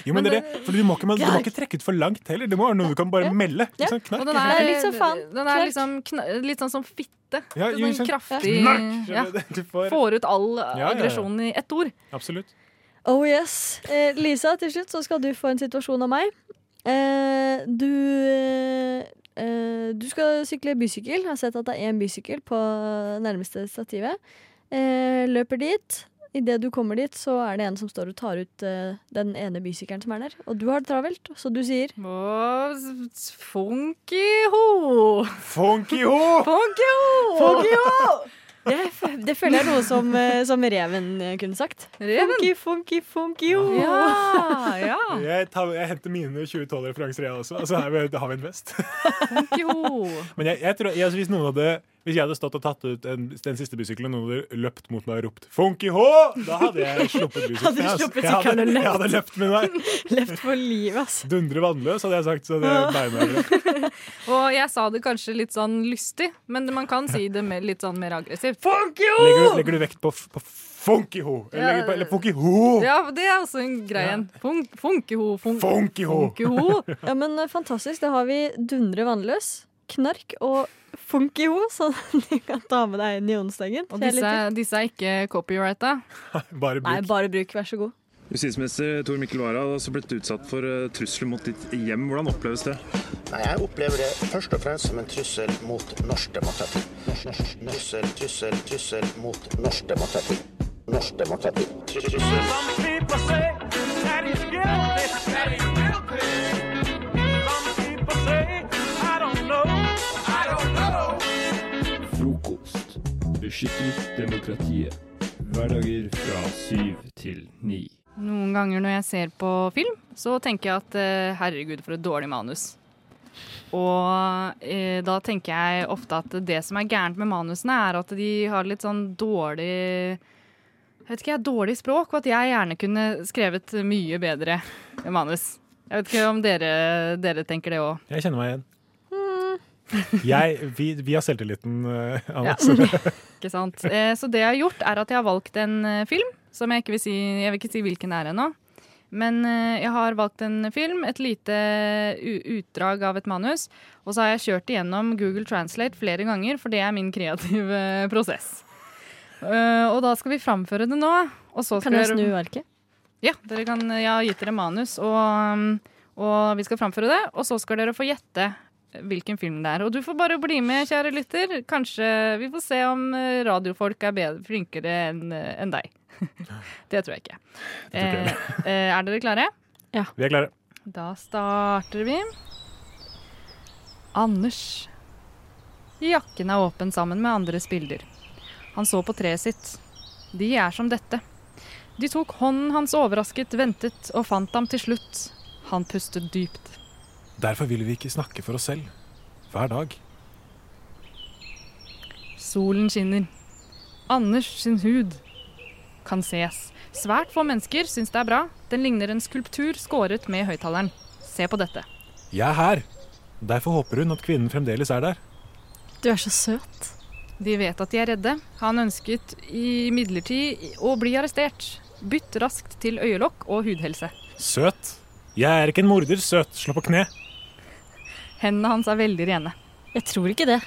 Jo, men dere, for du må, ikke, du må ikke trekke ut for langt heller. Det må være noe du kan bare melde. Ikke sant? Knark. Og den er, [LAUGHS] Den er liksom kna litt sånn som fitte. Det Ja, er jo, sånn ikke sant? kraftig Knark! ja. Du får- Får ut all Ja, ja, ja. aggresjonen i ett ord. Absolutt. Oh yes. Eh, Lisa, til slutt så skal du få en situasjon av meg. Eh, du eh, Du skal sykle bysykkel. Jeg har sett at det er én bysykkel på nærmeste stativet. Eh, løper dit. Idet du kommer dit, så er det en som står og tar ut eh, den ene bysykkelen som er der. Og du har det travelt, så du sier Funky-ho! Funky-ho! Funky-ho! Det, f- det føler jeg er noe som, eh, som reven eh, kunne sagt. Reven? Funky, funky, funky, jo. [LAUGHS] Ah, Ja, ja. [LAUGHS] Jeg, tar, jeg henter mine 2012-referanser, jeg også. Altså, her, da har vi en fest. [LAUGHS] Men jeg, jeg tror, jeg, altså, hvis, noen hadde, hvis jeg hadde stått og tatt ut en, den siste bysykkelen, og noen hadde løpt mot meg og ropt 'Funky H', da hadde jeg sluppet [LAUGHS] Hadde du bysykkelen. altså. sluppet Jeg hadde- sykkelen og løpt? Jeg hadde løpt med meg. [LAUGHS] Levd for livet, ass. Ah. Dundre vannløs, hadde jeg sagt. Så det Ja. beina [LAUGHS] Og jeg sa det kanskje litt sånn lystig, men man kan si det mer, litt sånn mer aggressivt. legger, du- legger du vekt på, f- på Funky H? Eller, Ja. legger du på- eller Funky H? Ja, det er altså- også en grei en. Fun funkeho. Fun Funky-ho! [LAUGHS] funkeho. Ja, men eh, fantastisk. Da har vi Dundre vannløs, Knark og Funky-ho, [LAUGHS] så du kan ta med deg inn i onsdagen. Og disse, disse er ikke copyrighta. [LAUGHS] Bare Nei, bare bruk. Vær så god. Justisminister Tor Mikkel Wara har også blitt utsatt for eh, trusler mot ditt hjem. Hvordan oppleves det? Nei, Jeg opplever det først og fremst som en trussel mot norsk demokrati. Norsk- norsk- Trussel, trussel, trussel mot norsk demokrati. Norsk demokrati. Trussel. Frokost. Beskytter demokratiet. Hverdager fra syv til ni. Noen ganger når jeg ser på film, så tenker jeg at eh, herregud, for et dårlig manus. Og eh, da tenker jeg ofte at det som er gærent med manusene, er at de har litt sånn dårlig jeg vet ikke, jeg dårlig språk, og at jeg gjerne kunne skrevet mye bedre manus. Jeg vet ikke om dere, dere tenker det òg. Jeg kjenner meg igjen. Jeg, vi, vi har selvtilliten, eh, Ja. Anders. ikke sant? Eh, så det jeg har gjort, er at jeg har valgt en eh, film som jeg ikke vil si, jeg vil ikke si hvilken det er ennå. Men eh, jeg har valgt en film, et lite u utdrag av et manus. Og så har jeg kjørt igjennom Google Translate flere ganger, for det er min kreative [LAUGHS] prosess. Eh, og da skal vi framføre det nå. Og så skal Kan jeg vi- snu arket? Ja, dere kan, jeg har gitt dere manus, og, um, og vi skal framføre det. Og så skal dere få gjette hvilken film det er. Og du får bare bli med, kjære lytter. Kanskje vi får se om eh, radiofolk er bedre, flinkere enn eh, enn deg. [LAUGHS] det tror jeg ikke. jeg Eh, eh, er dere klare? Ja. [LAUGHS] Vi er klare. Da starter vi. Anders. Jakken er åpen sammen med andres bilder. Han så på treet sitt. De er som dette. De tok hånden hans overrasket, ventet og fant ham til slutt. Han pustet dypt. Derfor vil vi ikke snakke for oss selv. Hver dag. Solen skinner. Anders sin hud kan ses. Svært få mennesker syns det er bra. Den ligner en skulptur skåret med høyttaleren. Se på dette. Jeg er her. Derfor håper hun at kvinnen fremdeles er der. Du er så søt. De vet at de er redde. Han ønsket imidlertid å bli arrestert. Bytt raskt til øyelokk og hudhelse. Søt. Jeg er ikke en morder, søt. Slå på kne. Hendene hans er veldig rene. Jeg tror ikke det.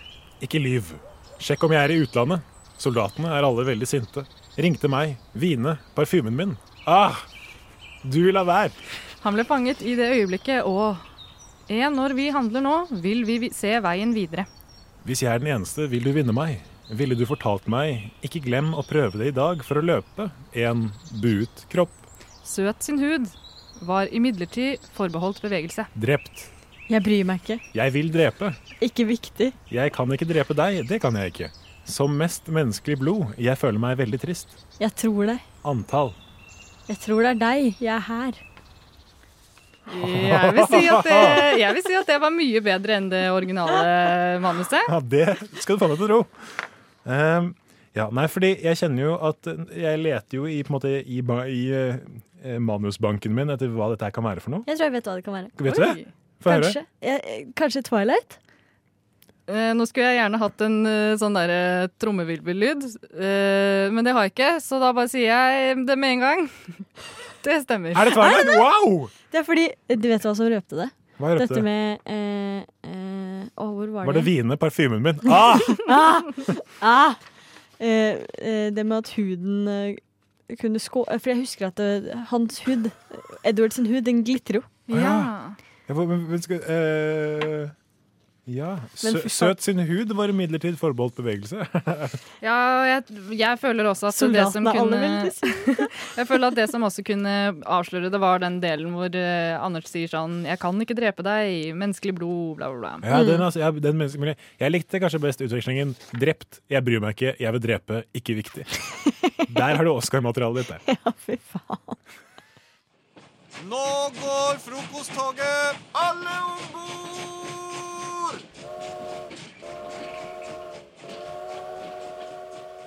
Ikke lyv. Sjekk om jeg er i utlandet. Soldatene er alle veldig sinte. Ringte meg. Vine. Parfymen min. Ah! Du la være. Han ble fanget i det øyeblikket og En når vi handler nå, vil vi vi se veien videre. Hvis jeg er den eneste, vil du vinne meg. Ville du fortalt meg, ikke glem å prøve det i dag for å løpe en buet kropp Søt sin hud var imidlertid forbeholdt bevegelse. drept. Jeg bryr meg ikke. Jeg vil drepe. Ikke viktig. Jeg kan ikke drepe deg, det kan jeg ikke. Som mest menneskelig blod, jeg føler meg veldig trist. Jeg tror det. Antall. Jeg tror det er deg. Jeg er her. Jeg vil si at det, [LAUGHS] jeg vil si at det var mye bedre enn det originale [LAUGHS] manuset. Ja, det skal du få meg til å tro. Ehm, ja, nei, fordi jeg kjenner jo at eh, jeg leter jo i, på en måte, i, ba- i eh, manusbanken min etter hva dette her kan være for noe. Jeg tror jeg vet hva det kan være. Vet du det? Få høre. Kanskje. Jeg, eh, kanskje Twilight? Eh, nå skulle jeg gjerne hatt en eh, sånn der eh, trommevirvellyd, eh, men det har jeg ikke, så da bare sier jeg det med en gang. [LAUGHS] Det stemmer. Er det Twilight? Wow! Det er fordi Du vet hva som røpte det? Hva røpte Dette det? med eh, eh, Å, hvor var, Var det vine parfymen [LAUGHS] min? Ah! ah, ah. Eh, eh, det med at huden eh, kunne skå... eh, For jeg husker at eh, hans hud, eh, Edward sin hud, den glitrer jo. Ja. Ja, hvor- men- men skal, eh, ja. Sø, Men for faen. søt sin hud var imidlertid forbeholdt bevegelse. [LAUGHS] Ja, jeg, jeg føler også at det som Soldaten er alle kunne [LAUGHS] Jeg føler at det som også kunne avsløre det, var den delen hvor eh, Anders sier sånn Jeg kan ikke drepe deg, menneskelig blod, bla, bla, bla. Ja, den, altså, jeg, den menneske- men jeg- jeg likte kanskje best utvekslingen 'drept', 'jeg bryr meg ikke', 'jeg vil drepe', 'ikke viktig'. [LAUGHS] Der har du Oscar-materialet ditt. Der. Nå går frokosttoget! Alle om bord!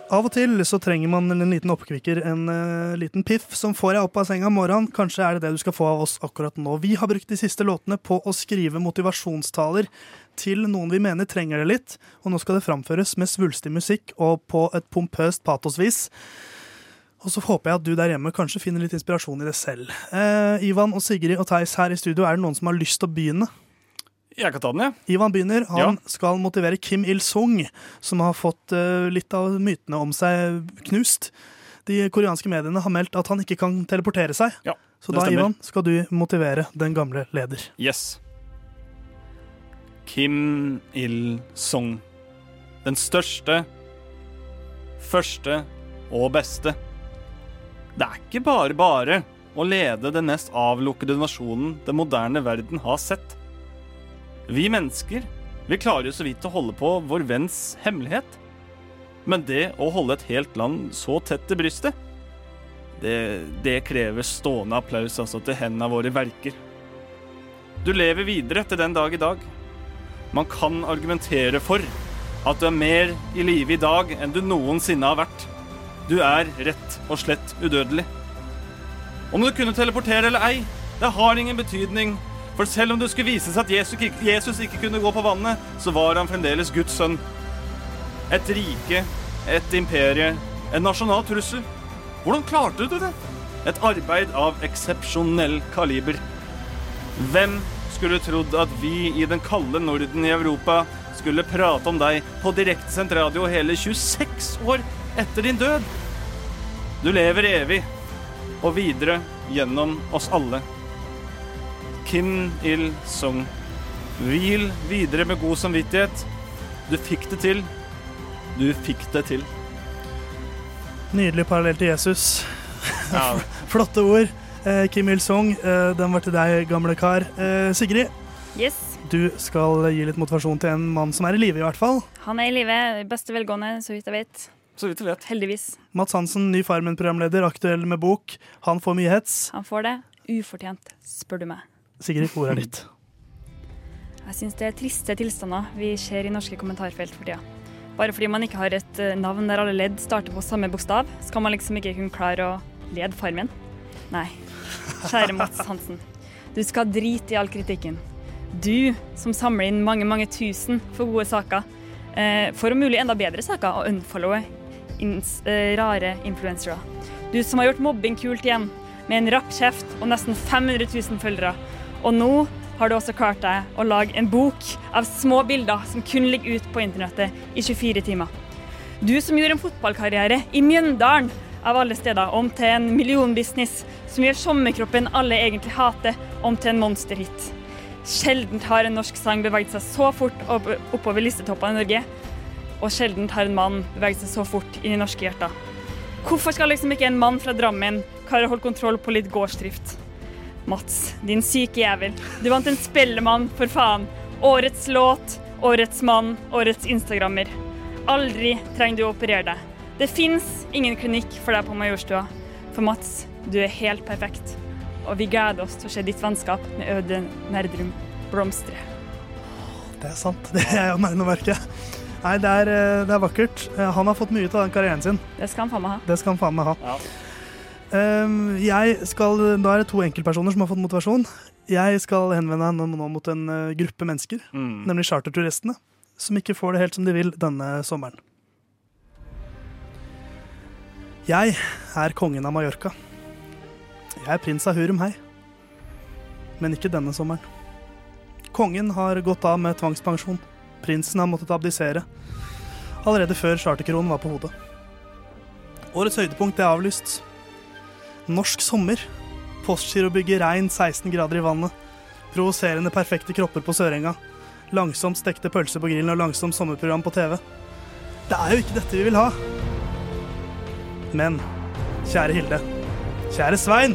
Av og til så trenger man en liten oppkvikker, en eh, liten piff som får deg opp av senga om morgenen. Kanskje er det det du skal få av oss akkurat nå. Vi har brukt de siste låtene på å skrive motivasjonstaler til noen vi mener trenger det litt, og nå skal det framføres med svulstig musikk og på et pompøst patosvis. Og så håper jeg at du der hjemme kanskje finner litt inspirasjon i det selv. Eh, Ivan og Sigrid og Theis her i studio, er det noen som har lyst til å begynne? Jeg kan ta den, jeg. Ivan begynner. Han Ja. skal motivere Kim Il-sung, som har fått eh, litt av mytene om seg knust. De koreanske mediene har meldt at han ikke kan teleportere seg. Så det da, stemmer. Ivan, skal du motivere den gamle leder. Yes. Kim Il-sung. Den største, første og beste. Det er ikke bare bare å lede den mest avlukkede nasjonen den moderne verden har sett. Vi mennesker vi klarer jo så vidt å holde på vår venns hemmelighet. Men det å holde et helt land så tett til brystet, det, det krever stående applaus altså til hendene våre verker. Du lever videre til den dag i dag. Man kan argumentere for at du er mer i live i dag enn du noensinne har vært. Du er rett og slett udødelig. Om du kunne teleportere eller ei, det har ingen betydning. For selv om det skulle vise seg at Jesus ikke, Jesus ikke kunne gå på vannet, så var han fremdeles Guds sønn. Et rike, et imperie, en nasjonal trussel. Hvordan klarte du det? Et arbeid av eksepsjonell kaliber. Hvem skulle trodd at vi i den kalde Norden i Europa skulle prate om deg på direktesendt radio hele 26 år etter din død? Du lever evig, og videre gjennom oss alle. Kim Il-sung. Hvil videre med god samvittighet. Du fikk det til. Du fikk det til. Nydelig parallell til Jesus. Ja. [LAUGHS] Flotte ord. Eh, Kim Il-sung, eh, den var til deg, gamle kar. Eh, Sigrid, Yes. du skal gi litt motivasjon til en mann som er i live, i hvert fall. Han er i live. i Beste velgående, så vidt jeg vet. Så vidt jeg vet. Heldigvis. Mats Hansen, ny Farmen-programleder, aktuell med bok. Han får mye hets. Han får det. Ufortjent, spør du meg. Sigrid, ordet er ditt. Jeg syns det er triste tilstander vi ser i norske kommentarfelt for tida. Bare fordi man ikke har et eh, navn der alle ledd starter på samme bokstav, skal man liksom ikke kunne klare å lede farmen. Nei. Kjære Mats Hansen. Du skal drite i all kritikken. Du som samler inn mange, mange tusen for gode saker. eh, For om mulig enda bedre saker og unfollowe ins, eh, rare influensere. Du som har gjort mobbing kult igjen, med en rapp kjeft og nesten 500 000 følgere. Og nå har du også klart deg å lage en bok av små bilder som kun ligger ute på internettet i 24 timer. Du som gjorde en fotballkarriere i Mjøndalen av alle steder, om til en millionbusiness som gjør sommerkroppen alle egentlig hater, om til en monsterhit. Sjelden har en norsk sang beveget seg så fort opp oppover listetoppene i Norge, og sjelden har en mann beveget seg så fort inn i norske hjerter. Hvorfor skal liksom ikke en mann fra Drammen klare å holde kontroll på litt gårdsdrift? Mats, din syke jævel. Du vant en Spellemann, for faen. Årets låt, årets mann, årets Instagrammer. Aldri trenger du å operere deg. Det fins ingen klinikk for deg på Majorstua. For Mats, du er helt perfekt. Og vi gleder oss til å se ditt vennskap med Øde Nerdrum blomstre. Det er sant. [LAUGHS] Det er jo merkemerket. Nei, det er, eh, det er vakkert. Eh, Han har fått mye ut av den karrieren sin. Det skal han faen meg ha. Det skal han faen meg ha. Um, jeg skal, da er det to enkeltpersoner som har fått motivasjon. Jeg skal henvende meg nå mot en eh, gruppe mennesker, Mm. nemlig charterturistene, som ikke får det helt som de vil denne sommeren. Jeg er kongen av Mallorca. Jeg er prins av Hurum, hei. Men ikke denne sommeren. Kongen har gått av med tvangspensjon. Prinsen har måttet abdisere. Allerede før charterkronen var på hodet. Årets høydepunkt er avlyst. Norsk sommer. Postgirobygget regn 16 grader i vannet. Provoserende perfekte kropper på Sørenga. Langsomt stekte pølser på grillen og langsomt sommerprogram på TV. Det er jo ikke dette vi vil ha. Men kjære Hilde, kjære Svein,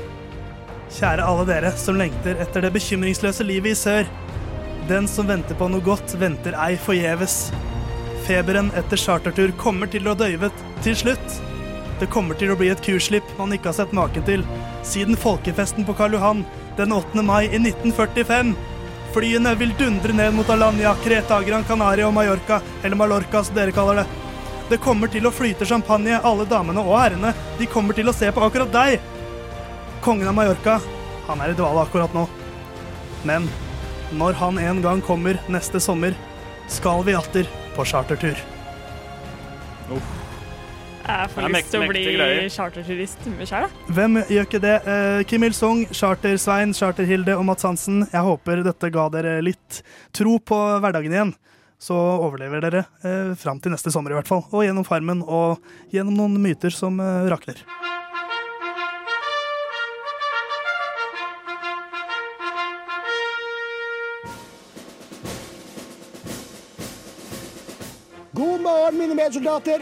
kjære alle dere som lengter etter det bekymringsløse livet i sør. Den som venter på noe godt, venter ei forgjeves. Feberen etter chartertur kommer til å døyve til slutt. Det kommer til å bli et kurslipp man ikke har sett maken til siden folkefesten på Karl Johan den 8. mai i 1945. Flyene vil dundre ned mot Alanya, Kreta, Gran Canaria og Mallorca, eller Mallorca som dere kaller det. Det kommer til å flyte champagne, alle damene og herrene. De kommer til å se på akkurat deg. Kongen av Mallorca, han er i dvale akkurat nå. Men når han en gang kommer neste sommer, skal vi atter på chartertur. Jeg Det får er lyst til mektig- å bli mektig greier. charterturist med sjæl, da. Hvem gjør ikke det? Eh, Kim Il-sung, Charter-Svein, Charter-Hilde og Mats Hansen. Jeg håper dette ga dere litt tro på hverdagen igjen. Så overlever dere eh, fram til neste sommer i hvert fall. Og gjennom Farmen og gjennom noen myter som eh, rakner. God morgen, mine medsoldater.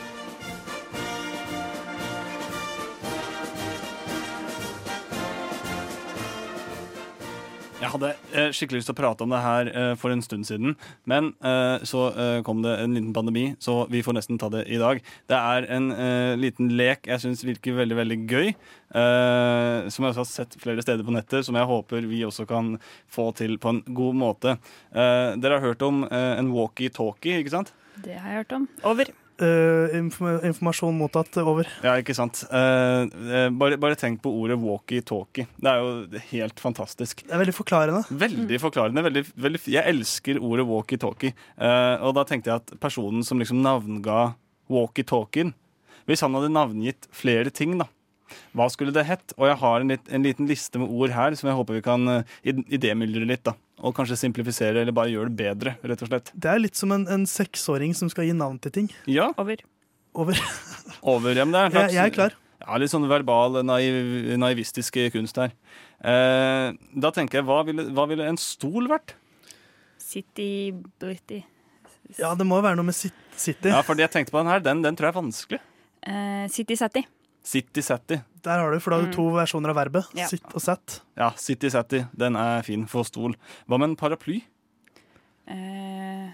Jeg hadde eh, skikkelig lyst til å prate om det her eh, for en stund siden, men eh, så eh, kom det en liten pandemi, så vi får nesten ta det i dag. Det er en eh, liten lek jeg syns virker veldig, veldig gøy, eh, som jeg også har sett flere steder på nettet, som jeg håper vi også kan få til på en god måte. Eh, dere har hørt om eh, en walkie-talkie, ikke sant? Det har jeg hørt om. Over. Eh, inform informasjon mottatt. Over. Ja, ikke sant. Eh, eh, bare, bare tenk på ordet walkie-talkie. Det er jo helt fantastisk. Det er veldig forklarende. Veldig forklarende. Veldig, veldig, jeg elsker ordet walkie-talkie. Eh, og da tenkte jeg at personen som liksom navnga walkie-talkien Hvis han hadde navngitt flere ting, da, hva skulle det hett? Og jeg har en, litt, en liten liste med ord her som jeg håper vi kan eh, id- idémyldre litt. da og kanskje simplifisere eller bare gjøre det bedre, rett og slett. Det er litt som en, en seksåring som skal gi navn til ting. Ja. Over. Over. [LAUGHS] Over ja, men det er en Jeg- slags, jeg er klar. Ja, litt sånn verbal, naiv, naivistisk kunst her. Eh, da tenker jeg, hva ville, hva ville en stol vært? City Britty. Ja, det må jo være noe med sit City. Ja, for det jeg tenkte på den her, den, den tror jeg er vanskelig. Eh, City Satty. City Satty. Der har du, for da har Mm. du to versjoner av verbet. Ja. Sitt og sett. Ja, City Satty, den er fin for stol. Hva med en paraply? Eh,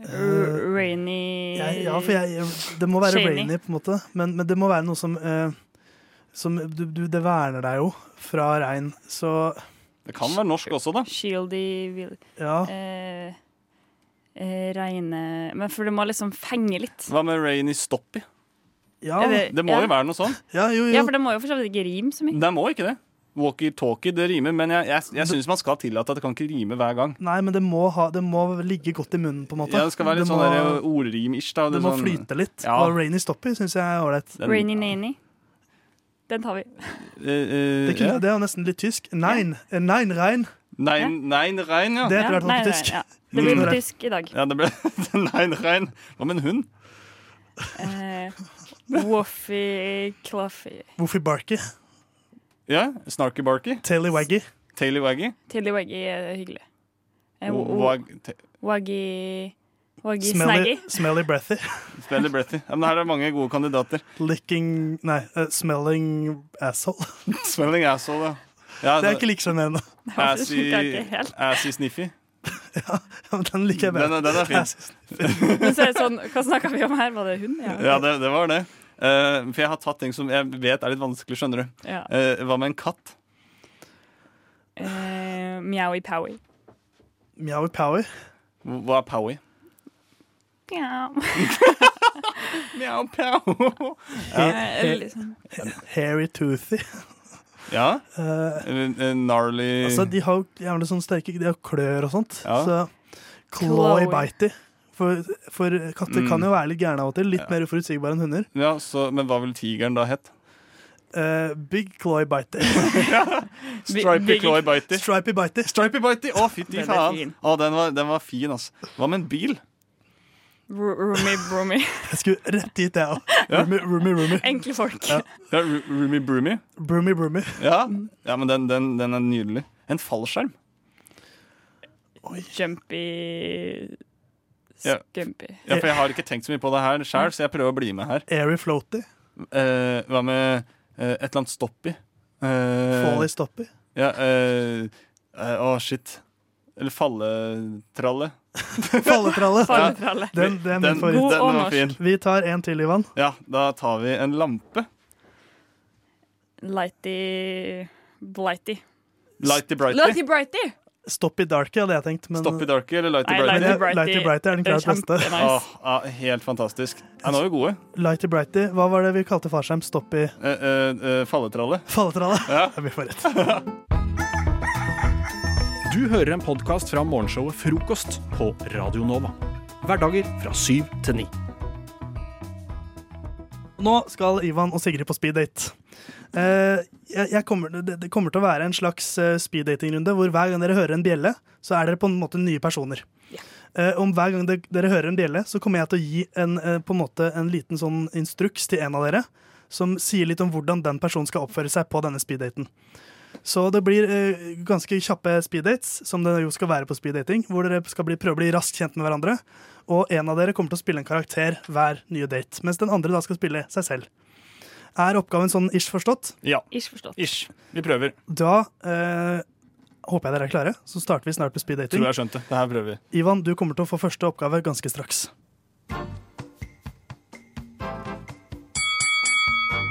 Eh, rainy Jeg, ja, for jeg, det må være Shiny. rainy, på en måte. Men, men det må være noe som, eh, som du, du, Det verner deg jo fra regn, så Det kan være norsk også, da. Shieldy vil, Ja. eh, eh, Regne Men for det må liksom fenge litt. Hva med Rainy Stoppy? Ja. Eller- Det må ja. jo være noe sånn. Ja, for det må jo for så vidt ikke rime så mye. Det må ikke det. Walkie-talkie, det rimer, men jeg, jeg, jeg syns man skal tillate at det kan ikke rime hver gang. Nei, men det må, ha, det må ligge godt i munnen, på en måte. Ja, det skal være litt sånn må- der ordrim-ish. da. det må sånn- flyte litt. Ja. Og rainy stoppy syns jeg er ålreit. Den- Rainy Nanny. Den tar vi. Eh, Det, Det kunne, det er jo nesten litt tysk. Nein, eh, nein rein. Nei, nei, rein, ja. Det er etter hvert nei, på tysk. Nei, ja. Det [LAUGHS] blir Mm. på tysk i dag. Ja, det ble [LAUGHS] Nei, rein. Hva med en hund? Eh, Woffy Claffy Woofy barky. Ja, Snarky-barky. Taily waggy. Taily-waggy. Tillywaggy er hyggelig. Eh, wo- wo- Wag- ta- Waggy Waggy Smelly, Snaggy. smelly breathy. Smelly breathy. Ja, men her er det mange gode kandidater. Licking Nei, eh, smelling asshole. [LAUGHS] Smelling asshole, ja. ja. Det er ikke like sjenerende. Assy, Det er ikke helt. assy sniffy. Men den liker Den, jeg bedre. er- den er fin. Men så er det sånn, hva snakka vi om her? Var det hund? [LAUGHS] Ja, det, det var det. Eh, for jeg har tatt ting som jeg vet er litt vanskelig, skjønner du. Ja. Eh, hva med en katt? Eh, Mjaui Powie. Mjaui Powie. Hva er Powie? Mjau. Mjau, pjau. Eh, liksom. Hairy toothy. Ja? Eh, En- en Gnarly altså, de har jo jævlig sånne sterke De har klør og sånt. Mm. Ja. Så clawy Clawy. bitey. For, for katter Mm. kan jo være litt gærne av og til. Litt mer uforutsigbare enn hunder. ja, så, Men hva vil tigeren da hett? Eh, big clawy [LAUGHS] bitey. Stripey big- claw bitey. Stripey bitey. Stripey bitey. Å, fytti Den er faen. fin. Å, den, var, den var fin, altså. Hva med en bil? Ro- Roomy Broomy. Jeg skulle rett dit, jeg òg. Roomy, roomy, roomy. Enkle folk. Ja, Ru- Roomy Broomy. Broomy, broomy. Ja, ja men den, den, den er nydelig. En fallskjerm. Jumpy Ja. Scumpy. Ja, for jeg har ikke tenkt så mye på det her sjøl, så jeg prøver å bli med her. Airy floaty. Eh, hva med eh, et eller annet stoppy? Uh, Folly stoppy. Ja, eh, eh, å, shit. Eller falletralle. [LAUGHS] Falletralle. Falletralle. Den, den, er min Den- favoritt. den var fin. Vi tar en til, Ivan. Ja, da tar vi en lampe. Lighty Blighty. Lighty brighty. Lighty Brighty! Stoppy darky hadde jeg tenkt, men Stoppy darky eller lighty Nei, brighty? lighty brighty. Lighty Brighty er den klart Det er beste. kjempenice. Åh, ja, helt fantastisk. Ja, nå er vi gode. Lighty Brighty, hva var det vi kalte farskjerm? Stoppy Eh, eh, eh, falletralle. Falletralle. Ja. [LAUGHS] Vi får rett. [LAUGHS] Du hører en podkast fra morgenshowet Frokost på Radio Nova. Hverdager fra syv til ni. Nå skal Ivan og Sigrid på speeddate. Eh, jeg, jeg kommer, det, det kommer til å være en slags eh, speeddatingrunde hvor hver gang dere hører en bjelle, så er dere på en måte nye personer. Eh, om hver gang de, dere hører en bjelle, så kommer jeg til å gi en, eh, på en, måte en liten sånn instruks til en av dere, som sier litt om hvordan den personen skal oppføre seg på denne speeddaten. Så det blir eh, ganske kjappe speeddates, som det jo skal være på speeddating, hvor dere skal bli, prøve å bli raskt kjent med hverandre. Og en av dere kommer til å spille en karakter hver nye date, mens den andre da skal spille seg selv. Er oppgaven sånn ish forstått? Ja. Ish forstått. Ish. Vi prøver. Da eh, håper jeg dere er klare, så starter vi snart med speeddating. Tror jeg skjønte. Det her prøver vi. Ivan, du kommer til å få første oppgave ganske straks.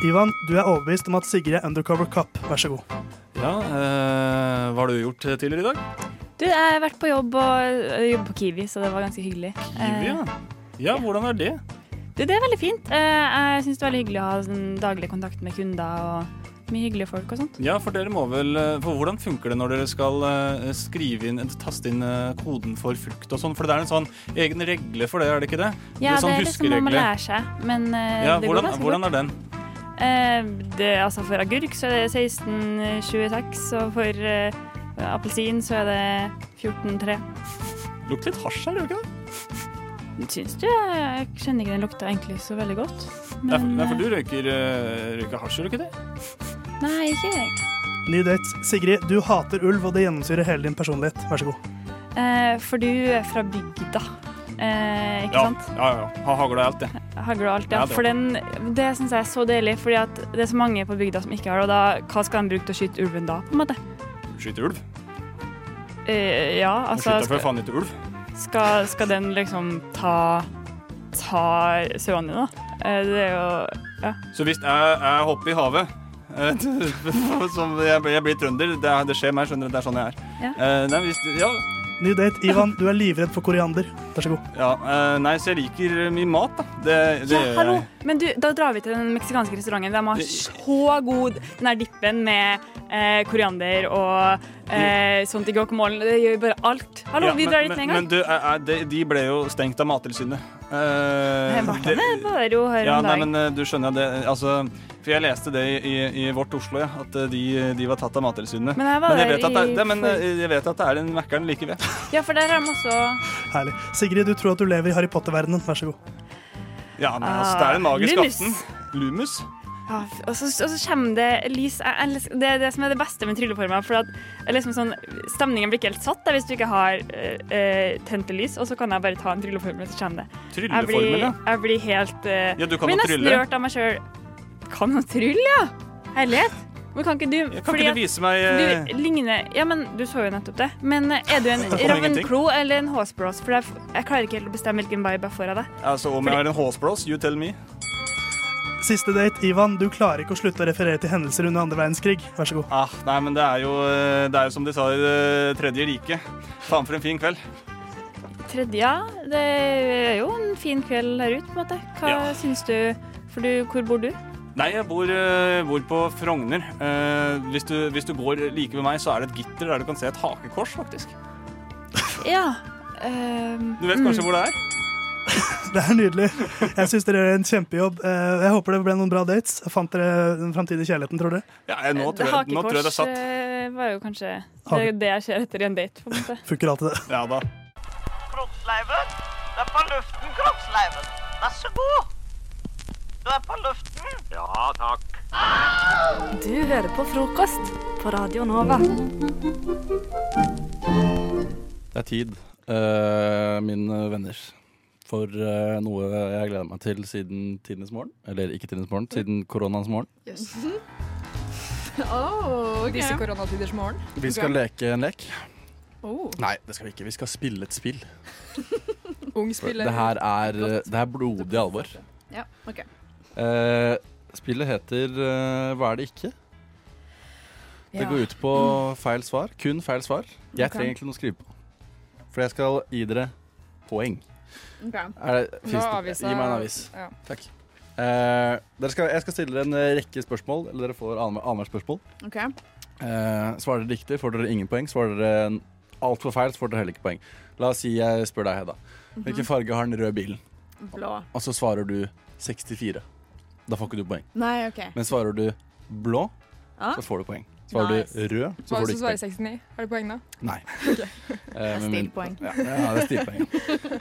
Ivan, du er overbevist om at Sigrid er undercover cop. Vær så god. Ja, eh, hva har du gjort tidligere i dag? Du, jeg har vært på jobb og jeg jobber på Kiwi, så det var ganske hyggelig. Kiwi, ja. Eh, Ja, hvordan er det? Du, det er veldig fint. Eh, Jeg syns det er veldig hyggelig å ha sånn daglig kontakt med kunder og mye hyggelige folk og sånn. sånt. Ja, for dere må vel eh, For hvordan funker det når dere skal eh, skrive inn taste inn eh, koden for frukt og sånn? For det er en sånn egen regle for det, er det ikke det? Ja, det sånn er liksom man må huskeregler. lære seg, men eh, Ja, det hvordan, går ganske hvordan er fort. den? Eh, det, altså for agurk så er det 16,26, og for eh, Appelsin, så er det 14-3. Lukter litt hasj her, gjør det ikke det? Syns du? Jeg kjenner ikke den lukta egentlig så veldig godt. Det er for- det er for du røyker, eh, røyker hasj, gjør du ikke det? Nei, ikke jeg. Ny date. Sigrid, du hater ulv, og det gjennomsyrer hele din personlighet. Vær så god. Eh, for du er fra bygda, eh, ikke ja. sant? Ja, ja. ja. Ha hagla i alt, det. Hagl og alt, Ja, ja. det For var- den, det syns jeg er så deilig, fordi at det er så mange på bygda som ikke har det. Og da, hva skal de bruke til å skyte ulven da, på en måte? Skyter ulv. Eh, ja, Du altså skyter for skal, faen ikke ulv. skal, skal den liksom ta ta sauene dine, da? Eh, det er jo Ja. Så hvis jeg, jeg hopper i havet eh, [LAUGHS] Som jeg, jeg blir trønder. Det, er- det skjer meg, skjønner du. Det er sånn jeg er. Ja. Eh, nei, hvis, ja, Ny date. Ivan, du er livredd for koriander. Vær så god. ja, eh, nei, så jeg liker mye mat, da. Det, det Ja, gjør jeg. hallo! Men du, da drar vi til den meksikanske restauranten. De har så god den der dippen med eh, koriander og eh, sånt i guacamolen. Det gjør jo bare alt. Hallo, Ja, vi men- drar dit med en Men, men gang. du, jeg- jeg- de, de ble jo stengt av Mattilsynet. Eh, Det er bare å høre ja, om nei, dagen. men eh, du skjønner det. Altså, for jeg leste det i, i Vårt Oslo, ja, at eh, de, de var tatt av Mattilsynet. Men jeg var jeg der vet at det, i er- det, men eh, for- jeg vet at det er en Mækkern like ved. [LAUGHS] Ja, for der har de også Herlig. Sigrid, du tror at du lever i Harry Potter-verdenen. Vær så god. Ja, nei, altså, det Ah, er en magisk Lummus. aften. Lumus. Ja, og så, og så kommer det lys jeg elsker, Det er det som er det beste med trylleformer. For at det er liksom sånn, stemningen blir ikke helt satt der hvis du ikke har eh, eh, tente lys. Og så kan jeg bare ta en trylleformel, så kommer det. Jeg blir, Trylleformel, ja. jeg blir helt eh, Ja, du kan blir jo nesten trylle. rørt av meg sjøl. Kan jo trylle, ja! Herlighet. Men kan ikke du Kan fordi ikke at du vise meg eh, du ligner Ja, men du så jo nettopp det. Men eh, er du en Det kom ingenting. Ravenclaw eller en Håsblås? For jeg, f- jeg klarer ikke helt å bestemme hvilken vibe jeg får av det. altså, om jeg har en håsblås? You tell me. Siste date. Ivan, du klarer ikke å slutte å referere til hendelser under andre verdenskrig. Vær så god. Ah, nei, men det er jo, eh, det er jo som de sa i Det tredje riket. Faen for en fin kveld. Tredje, ja. Det er jo en fin kveld her ute, på en måte. Hva Ja. syns du? For du, hvor bor du? Nei, jeg bor, eh, bor på Frogner. Eh, hvis, du, hvis du går like ved meg, så er det et gitter der du kan se et hakekors, faktisk. Ja. ehm, Du vet kanskje hvor det er? Det er nydelig. Jeg syns dere gjør en kjempejobb. Eh, Jeg håper det ble noen bra dates. Fant dere den framtidige kjærligheten, tror dere? Ja, jeg, nå, tror jeg, nå tror jeg det er satt. eh, var jo kanskje det, Hake- er det jeg ser etter i en date, på en måte. Funker alltid det. Ja da. Kroppsleiven. Du er på luften, kroppsleiven. Vær så god. Du er på luften. Ja, takk. Du hører på frokost på Radio Nova. Det er tid, eh, mine venner, for eh, noe jeg gleder meg til siden tidenes morgen. Eller ikke tidenes morgen, siden koronaens morgen. Yes. [LAUGHS] oh, ok. Disse koronatiders morgen. Vi skal Ok. leke en lek. Oh, Nei, det skal vi ikke. Vi skal spille et spill. ung For spiller. det her er, eh, det er blodig alvor. Ja, ok. Eh, spillet heter eh, Hva er det ikke? Det Ja. går ut på feil svar. Kun feil svar. Jeg Ok. trenger egentlig noe å skrive på. For jeg skal gi dere poeng. Ok. Er det, Nå finnes det- avisa- Gi meg en avis. Ja. Takk. Eh, dere skal, jeg skal stille dere en eh, rekke spørsmål. Eller dere får annenhver annenhver spørsmål. Ok. Eh, svarer dere riktig, får dere ingen poeng. Svarer dere altfor feil, så får dere heller ikke poeng. La oss si jeg spør deg, Hedda. Hvilken Mhm. farge har den røde bilen? Blå. Og så svarer du 64. Da får ikke du poeng. Nei, ok. Men svarer du blå, Ah. så får du poeng. Svarer Nice. du rød, så Hva får er du det som ikke svarer poeng. 69? Har du poeng da? Nei. [LAUGHS] Det er Eh, men- stilpoeng. Ja, ja, det er stilpoeng. [LAUGHS] ja.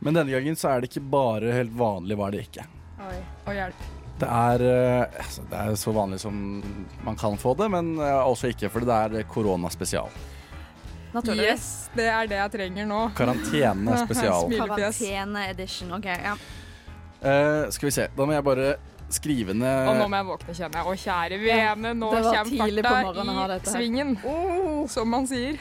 Men denne gangen så er det ikke bare helt vanlig hva det ikke. Oi. Å, hjelp. Det er, eh, altså, det er så vanlig som man kan få det, men eh, også ikke, for det er koronaspesial. Yes, det er det jeg trenger nå. [LAUGHS] Karantene spesial. Smilefjes. edition. Ok, ja. Eh, skal vi se, da må jeg bare skrive ned Og nå må jeg våkne, kjenner jeg. Å, kjære vene, nå Det var tidlig på kommer morgenen å ha farta i dette her. svingen. Oh, Som man [LAUGHS] sier.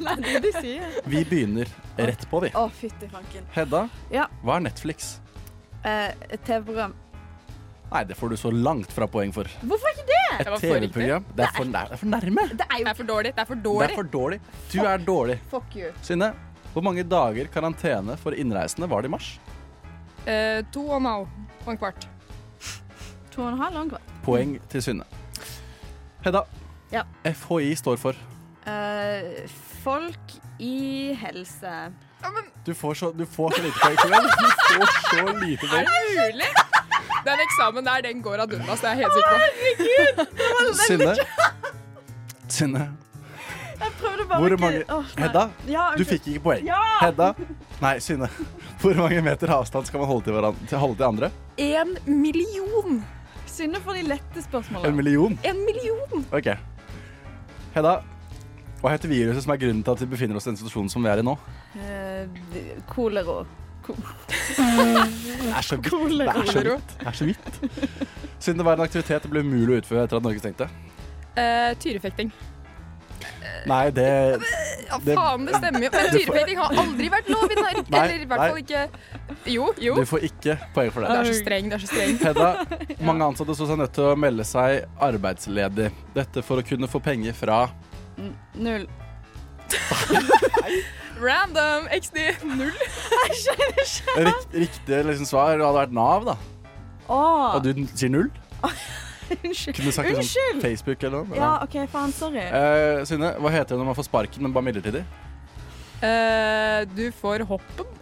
Nei, det er det de sier. Vi begynner rett på, vi. Å, fytti fanken. Hedda, Ja. hva er Netflix? Eh, et TV-program. Nei, det får du så langt fra poeng for. Hvorfor ikke det? Et TV-program. Det, er for nær- det er for nærme. Det er, jo... det er for dårlig. Det er for Det dårlig. er for dårlig. Du er dårlig. Fuck you. Synne, hvor mange dager karantene for innreisende var det i mars? Eh, to og en halv og en kvart. To og en halv lang kvart. Poeng til Synne. Hedda, Ja. FHI står for Eh, folk i helse. Du får så, du får så lite poeng. Synne. Du får så lite Er poeng. det mulig? Den eksamen der, den går ad undas, det er jeg helt sikker på. Synne. Synne, bare Hvor ikke- mange Åh, nei. Hedda, Ja, du unnskyld. fikk ikke poeng. Ja! Hedda Nei, Synne. Hvor mange meter avstand skal man holde til, hverandre, til, holde til andre? En million! Synne for de lette spørsmålene. En million? En million! OK. Hedda, hva heter viruset som er grunnen til at vi befinner oss i den situasjonen som vi er i nå? Eh, d- Kolero. Ko- Det er så vidt. Det Kolero. er så vidt. Det er så vidt. Siden det var en aktivitet det ble umulig å utføre etter at Norge stengte. Eh, tyrefekting. Nei, det, Ja, faen, det [LAUGHS] stemmer jo. Men Du får- tyrefekting har aldri vært lov i Norge. Nei, Eller i hvert fall nei. ikke Jo, jo. Du får ikke poeng for Du det. er så streng, du er så streng. [LAUGHS] Hedda, mange ansatte så seg nødt til å melde seg arbeidsledig. Dette for å kunne få penger fra N- Null. [LAUGHS] Random XD [LAUGHS] null. rikt, riktig liksom, svar. Det hadde vært Nav, da. Åh, Og du sier null? unnskyld. Kunne du sagt liksom, Unnskyld! Facebook eller noe? Ja, OK, faen. Sorry. Eh, Synne, hva heter det når man får sparken, men bare midlertidig? Eh, du får hoppen.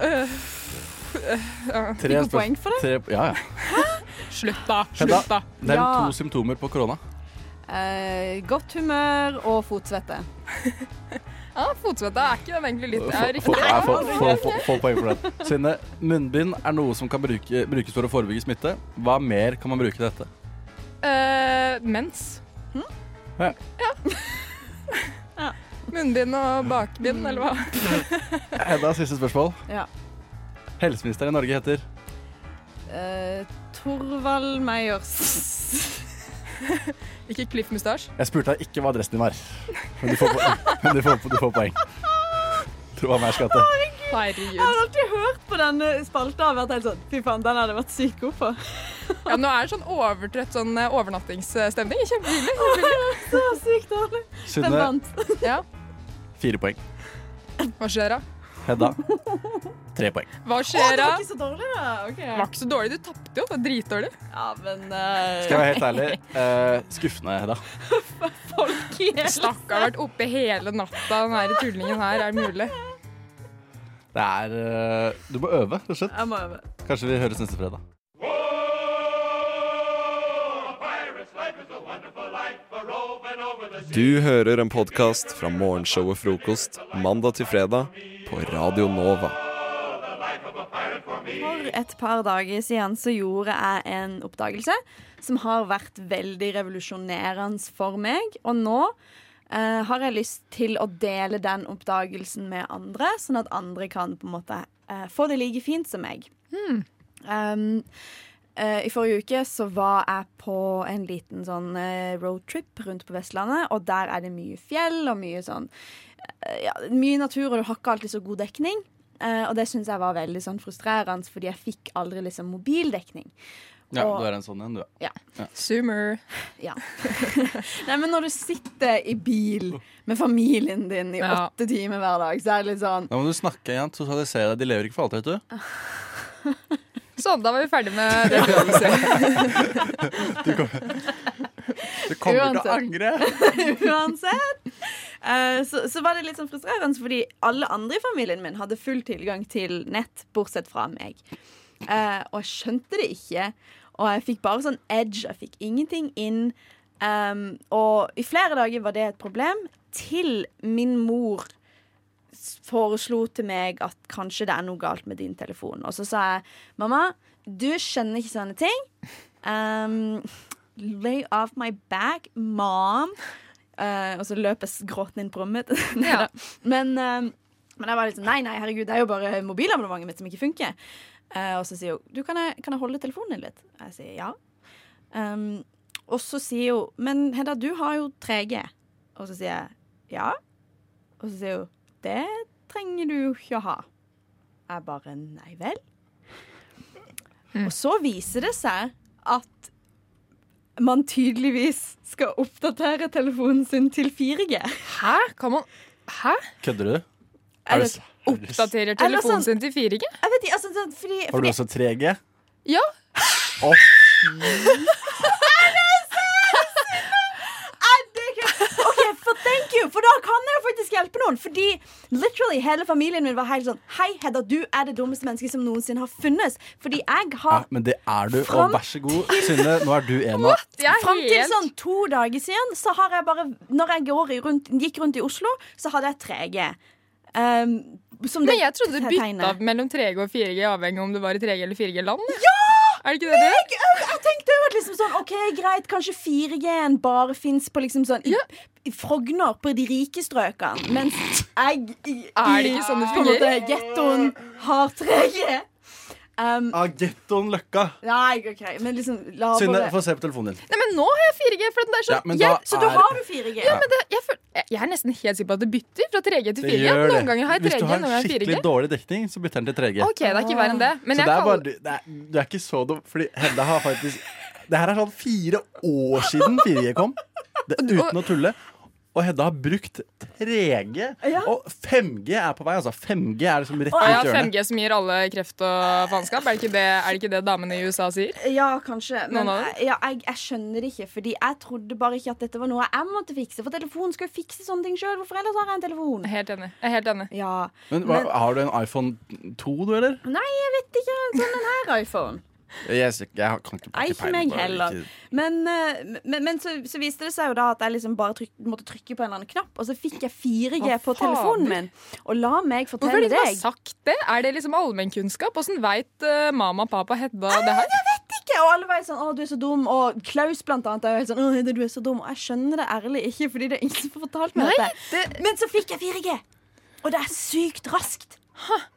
Eh, [LAUGHS] eh, Tre spørs- Tre, ja, ja. Slutt, da. Hedda, Slutt, da. nevn Ja. to symptomer på korona. Eh, godt humør og fotsvette. [LAUGHS] Ja, Fotsvette er ikke den egentlig litt Få- er få- riktig. nei, få- få- få- Få poeng for det. Synne, munnbind er noe som kan bruke, brukes for å forebygge smitte. Hva mer kan man bruke til dette? Eh, mens. Hm? Ja. [LAUGHS] Munnbind og bakbind, eller hva? Hedda, Eh, siste spørsmål. [LAUGHS] Ja. Helseministeren i Norge heter Eh, Torvald Meyers. [LAUGHS] Ikke kliff mustasje. Jeg spurte deg ikke hva adressen din var, men du får, po- [LAUGHS] men du får, du får poeng. Tro meg, skatte. Herregud. Jeg har alltid hørt på denne spalta og vært helt sånn Fy faen, den hadde jeg vært sykt god på. [LAUGHS] Ja, nå er det sånn overtrøtt sånn eh, overnattingsstemning. Kjempehyggelig. kjempehyggelig. Så sykt dårlig. Synne. Ja. Fire poeng. Hva skjer da? Hedda, tre poeng. Hva skjer da? så dårlig, da. Ok. Det var ikke så dårlig. Du tapte jo. Det var dritdårlig. Ja, men Skal jeg være helt [LAUGHS] ærlig, eh, skuffende, Hedda. Stakkar har vært oppe hele natta, den her tullingen her. Er det mulig? Det er eh, Du må øve, rett og slett. Jeg må øve. Kanskje vi høres neste fredag. Du hører en podkast fra morgenshowet Frokost mandag til fredag på Radio Nova. For et par dager siden så gjorde jeg en oppdagelse som har vært veldig revolusjonerende for meg. Og nå eh, har jeg lyst til å dele den oppdagelsen med andre, sånn at andre kan på en måte eh, få det like fint som meg. Mm. Um, eh, I forrige uke så var jeg på en liten sånn eh, roadtrip rundt på Vestlandet, og der er det mye fjell og mye sånn eh, ja, Mye natur, og du har ikke alltid så god dekning. Eh, og det syns jeg var veldig sånn frustrerende, fordi jeg fikk aldri liksom mobildekning. Ja, Og- du er en sånn en, du. Ja. Ja. Zoomer. [LAUGHS] Ja. Nei, men når du sitter i bil med familien din i Ja. åtte timer hver dag, så er det litt sånn Da må du snakke igjen. Sosialisere deg. De lever ikke for alltid, vet du. [LAUGHS] Sånn, da var vi ferdig med det. vi hadde å si. Du kommer til å angre. [LAUGHS] Uansett. Eh, så, så var det litt sånn frustrerende, fordi alle andre i familien min hadde full tilgang til nett, bortsett fra meg. Eh, og jeg skjønte det ikke. Og jeg fikk bare sånn edge. Jeg fikk ingenting inn. Um, og i flere dager var det et problem, til min mor s- foreslo til meg at kanskje det er noe galt med din telefon. Og så sa jeg mamma, du skjønner ikke sånne ting. Um, lay off my back, mom. Eh, og så løp jeg s- gråtende inn på rommet [LAUGHS] mitt. Neida. Men, eh, men jeg var litt sånn nei, nei, herregud, det er jo bare mobilabonnementet mitt som ikke funker. Eh, og så sier hun du, kan jeg, kan jeg holde telefonen din litt? Jeg sier ja. Um, og så sier hun men Hedda, du har jo 3G. Og så sier jeg ja. Og så sier hun det trenger du jo ikke å ha. Jeg bare nei vel. Og så viser det seg at man tydeligvis skal oppdatere telefonen sin til 4G. Hæ? Kan man Hæ? Kødder du? Er Er du det- s- Oppdaterer Eller telefonen sånn- sin til 4G? Jeg vet ikke, altså, sånn, fordi, Har du fordi også 3G? Ja. Å, Er det sant?! Er det ikke- OK, for thank you you, for da kan jeg jo faktisk hjelpe noen. Fordi literally hele familien min var helt sånn Hei, Hedda, du er det dummeste mennesket som noensinne har funnes. Fordi jeg har Men det er du, Fram og vær så god, Synne. Nå er du en av Fram til sånn to dager siden så har jeg bare Når jeg går i rundt, gikk rundt i Oslo, så hadde jeg 3G. Ehm, som Men det jeg trodde du tegnet. bytta mellom 3G og 4G, avhengig av om du var i 3G eller 4G-land. Ja! Er det ikke det Jeg, jeg, jeg tenkte jo at liksom sånn, ok, greit, kanskje 4G-en bare fins på liksom sånn i, i Frogner, på de rike strøkene, mens jeg i, Er det i- ikke sånn det på en måte fungerer? Gettoen har 3G. Um, Av gettoen Løkka. nei, OK, men liksom lavere Synne, få se på telefonen din. Nei, men nå har jeg 4G. For den der, Ja, men da Så da er- har du 4G? Ja, men det, jeg, føl- jeg- jeg er nesten helt sikker på at det bytter fra 3G til 4G. gjør Noen ganger har jeg 3G, Hvis du noen ganger har jeg 4G. skikkelig dårlig dekning, så bytter den til 3G. Ok, det er ikke verre enn det, men jeg så det er kaller- bare, du- det er, du er ikke så dum, fordi Hedda har faktisk Det her er sånn fire år siden 4G kom, det, uten å tulle. Og Hedda har brukt 3G. Og 5G er på vei, altså. 5G er liksom rett Å, ja, rundt hjørnet. 5G som gir alle kreft og faenskap. Er, det ikke det- er det ikke det damene i USA sier? Ja, Eh, kanskje. Men Noen av jeg, ja, jeg, jeg skjønner det ikke. Fordi jeg trodde bare ikke at dette var noe jeg måtte fikse. For telefonen skal jo fikse sånne ting sjøl. Hvorfor ellers har jeg en telefon? Helt enig. Jeg er helt enig. Ja. Men, hva, Har du en iPhone 2, du, eller? Nei, jeg vet ikke. Sånn den her iPhone. Jeg, jeg, jeg kan ikke Nei, ikke meg heller. Men, eh, men, men så, så viste det seg jo da at jeg liksom bare tryk, måtte trykke på en eller annen knapp, og så fikk jeg 4G Hva på faen? telefonen min. Og la meg Hvorfor er fortelle det ikke deg bare sagt det? Er det liksom allmennkunnskap? Åssen veit eh, mamma, pappa, Hedda det her? ikke, og alle var sånn 'Å, du er så dum', og Klaus blant annet er jo helt sånn 'Å, Hedda, du er så dum', og jeg skjønner det ærlig ikke, fordi det er ingen som har fortalt meg Nei, dette. Men så fikk jeg 4G, og det er sykt raskt.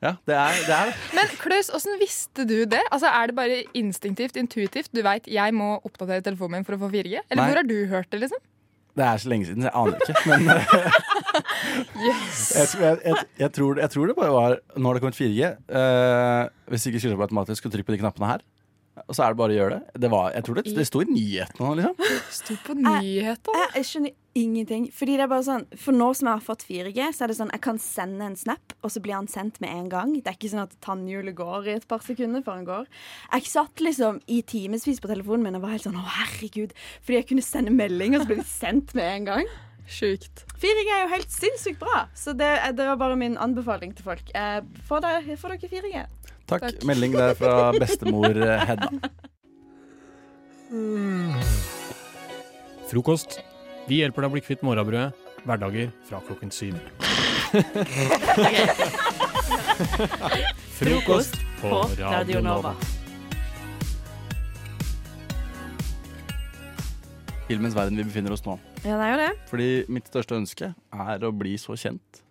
Ja, det er det. Er. Men Klaus, åssen visste du det? Altså, Er det bare instinktivt, intuitivt? Du veit jeg må oppdatere telefonen min for å få 4G? Eller Nei. hvor har du hørt det, liksom? Det er så lenge siden, så jeg aner ikke. Men jeg, tror- jeg, jeg, jeg, tror, jeg tror det bare var Nå har det kommet 4G. eh, hvis det ikke skyldes på automatisk, skulle trykke på de knappene her. Og så er det bare å gjøre det. det var, jeg tror det, det sto i nyhetene nå, liksom. Sto på nyheter. Jeg, jeg skjønner ingenting. Fordi det er bare sånn For nå som jeg har fått 4G, så er det sånn jeg kan sende en snap, og så blir han sendt med en gang. Det er ikke sånn at tannhjulet går i et par sekunder før han går. Jeg satt liksom i timevis på telefonen min og var helt sånn å, herregud. Fordi jeg kunne sende melding, og så ble det sendt med en gang. [LAUGHS] Sjukt. 4G er jo helt sinnssykt bra, så det, det var bare min anbefaling til folk. Eh, får, dere, får dere 4G? Takk. Melding der fra bestemor eh, Hedda. Frokost. Vi hjelper deg å bli kvitt morrabrødet. Hverdager fra klokken [LAUGHS] syv. [LAUGHS] Frokost på Radio Nova. Filmens verden vi befinner oss nå. Ja, det er jo det. Fordi mitt største ønske er å bli så kjent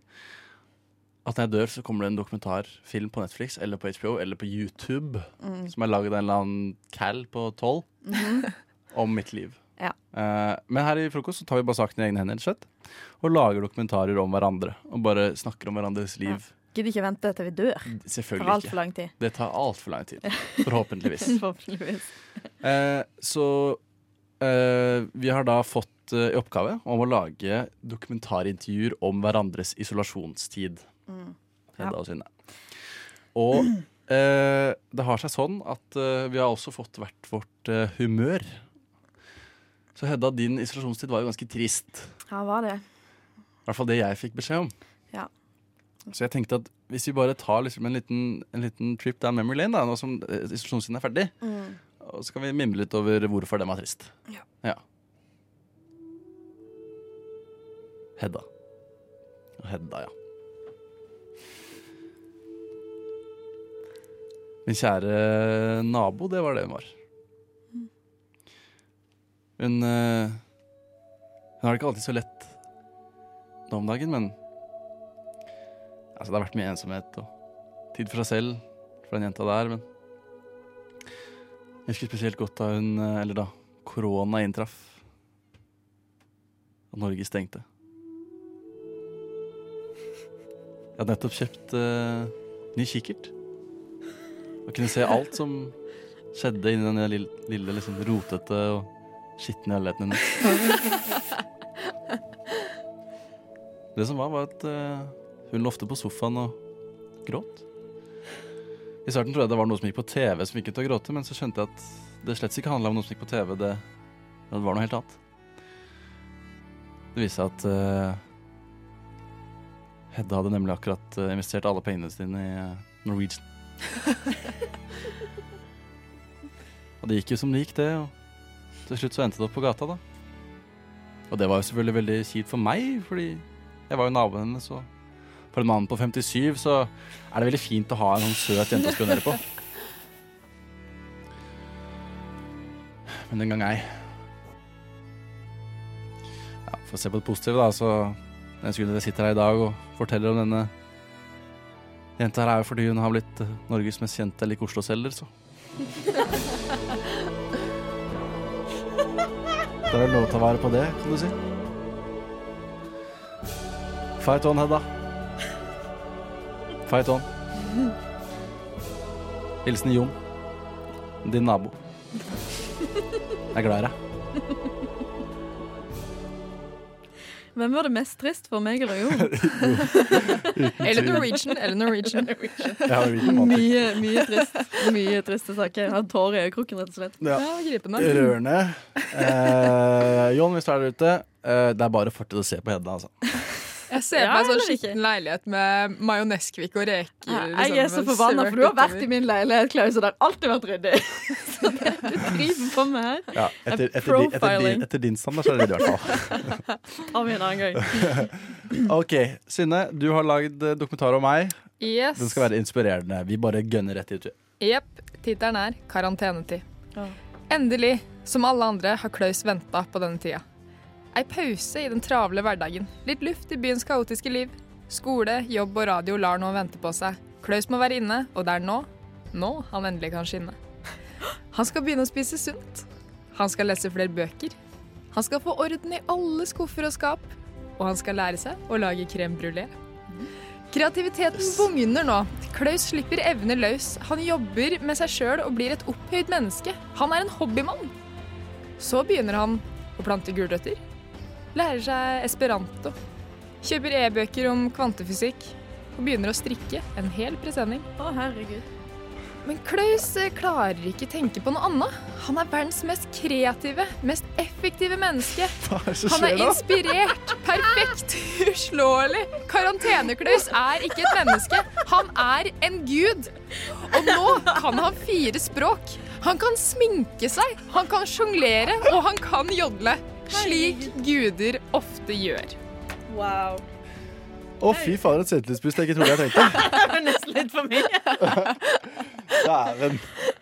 at når jeg dør, så kommer det en dokumentarfilm på Netflix eller på HBO eller på YouTube Mm. som er laget av en eller annen cal på tolv Mm-hmm. om mitt liv. Ja. Eh, men her i frokost så tar vi bare saken i egne hender rett og slett, og lager dokumentarer om hverandre. Og bare snakker om hverandres liv. Gidder ikke vente til vi dør. Selvfølgelig For alt ikke. for lang tid. Det tar altfor lang tid. Forhåpentligvis. [LAUGHS] Forhåpentligvis. Eh, så eh, vi har da fått eh, i oppgave om å lage dokumentarintervjuer om hverandres isolasjonstid. Mm. Hedda og Synne. Og eh, det har seg sånn at eh, vi har også fått hvert vårt eh, humør. Så Hedda, din isolasjonstid var jo ganske trist. Ja, var det. I hvert fall det jeg fikk beskjed om. Ja. Så jeg tenkte at hvis vi bare tar liksom en, liten, en liten trip down memory lane, da, nå som eh, isolasjonstiden er ferdig, Mm. og så kan vi mimre litt over hvorfor den var trist. Ja. Hedda. Hedda, ja. Min kjære eh, nabo, det var det hun var. Hun eh, Hun har det ikke alltid så lett nå om dagen, men Altså, det har vært mye ensomhet og tid for seg selv for den jenta der, men jeg husker spesielt godt da hun, eh, eller da korona inntraff. Og Norge stengte. Jeg hadde nettopp kjøpt eh, ny kikkert. Og kunne se alt som skjedde inni den lille, lille liksom, rotete og skitne leiligheten hennes. Det som var, var at eh, hun lå ofte på sofaen og gråt. I starten trodde jeg det var noe som gikk på TV som fikk henne til å gråte, men så skjønte jeg at det slett ikke handla om noe som gikk på TV, det, det var noe helt annet. Det viste seg at eh, Hedda hadde nemlig akkurat eh, investert alle pengene sine i eh, Norwegian. og det gikk jo som det gikk, det. Og til slutt så endte det opp på gata, da. Og det var jo selvfølgelig veldig kjipt for meg, fordi jeg var jo naboen hennes. Og for en mann på 57 så er det veldig fint å ha en sånn søt jente å spionere på. Men den gang ei. Ja, for å se på det positive, da, så den skulle dere sitter her i dag og forteller om denne jenta her, er jo fordi hun har blitt eh, Norges mest kjente eller ikke Oslo-selger, så det er vel lov å ta vare på det, kan du si. Fight on, Hedda. Fight on. Hilsen Jon, din nabo. Jeg er glad i deg. Hvem var det mest trist for meg eller [LAUGHS] Jon? [LAUGHS] Eller Norwegian. Eller [LAUGHS] Norwegian. Ja, Norwegian vant. mye, mye trist. Mye triste saker. Jeg har tårer i øyekroken, rett og slett. Ja. gripende. Rørende. Eh, Jon, hvis du er der ute, eh, det er bare å fortsette å se på Hedda, altså. Jeg ser for meg en sånn skitten leilighet med majoneskvikk og reker. liksom, Jeg er så med forbanna, for du har sølt vært utover. i min leilighet, Klaus, og det har alltid vært ryddig. [LAUGHS] Så det du driver på med her Ja, er etter, etter, din, etter, profiling. din, etter din standard så er det det i hvert fall. Tar vi en annen [LAUGHS] gang. Ok, Synne, du har lagd eh, dokumentar om meg. Yes. Den skal være inspirerende. Vi bare gønner rett ut. Jepp. Tittelen er 'Karantenetid'. Endelig, som alle andre, har Klaus venta på denne tida. Ei pause i den travle hverdagen. Litt luft i byens kaotiske liv. Skole, jobb og radio lar nå vente på seg. Klaus må være inne, og det er nå nå han endelig kan skinne. Han skal begynne å spise sunt. Han skal lese flere bøker. Han skal få orden i alle skuffer og skap. Og han skal lære seg å lage crème brulé. Kreativiteten bugner nå. Klaus slipper evner løs. Han jobber med seg sjøl og blir et opphøyd menneske. Han er en hobbymann. Så begynner han å plante gulrøtter. Lærer seg esperanto. Kjøper e-bøker om kvantefysikk. Og begynner å strikke en hel presenning. Å, herregud. Men Klaus eh, klarer ikke tenke på noe annet. Han er verdens mest kreative, mest effektive [LAUGHS] menneske. det som Han skjer er da? [LAUGHS] inspirert, perfekt, uslåelig. Karantene-Klaus er ikke et menneske, han er en gud. Og nå kan han fire språk. Han kan sminke seg, han kan sjonglere, og han kan jodle. Slik guder ofte gjør. Wow. Å, fy faen, et selvtillitsboost jeg ikke trodde jeg tenkte. Det var nesten litt for mye. Dæven.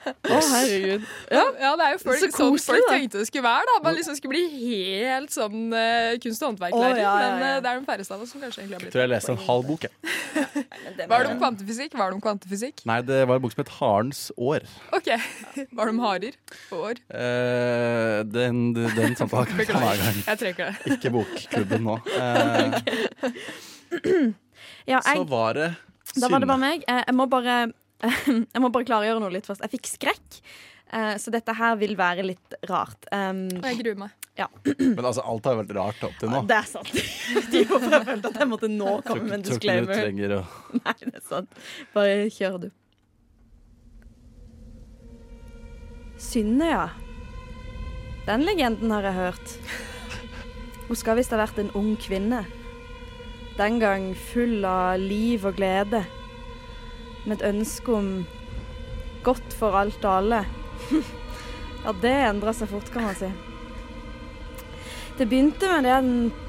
Å, herregud. Ja, det er jo folk, Så sånn koselig, folk da. tenkte det skulle være. da Man liksom skulle bli helt sånn eh, kunst- og håndverklærer. Å, ja, ja, Men ja. eh, det er de færreste av oss som kanskje egentlig har Jeg blitt tror jeg leste en halv bok, jeg. Var det om kvantefysikk? Var det om kvantefysikk? Nei, det var en bok som het Harens år. OK. [LAUGHS] Var det om harer? År? Eh, den, den samtalen kan vi ta en annen gang. Jeg trekker det. Ikke bokklubben nå. Eh, Ja, så jeg, var det da var det Synne. bare meg. Eh, Jeg må bare, [LAUGHS] jeg må bare klargjøre noe litt først. Jeg fikk skrekk, eh, så dette her vil være litt rart. Um, Jeg gruer meg. Ja, Men altså, alt har vært rart opp til nå. det er sant. [LAUGHS] Det er hvorfor jeg følte at jeg måtte nå komme med en Tror ikke du disclaimer. trenger å [LAUGHS] Nei, det er sant. Bare kjør, du. Synne, ja. Den legenden har jeg hørt. Hun skal visst ha vært en ung kvinne. Den gang full av liv og glede. Med et ønske om godt for alt og alle. [LAUGHS] Ja, det endra seg fort, kan man si. Det begynte med den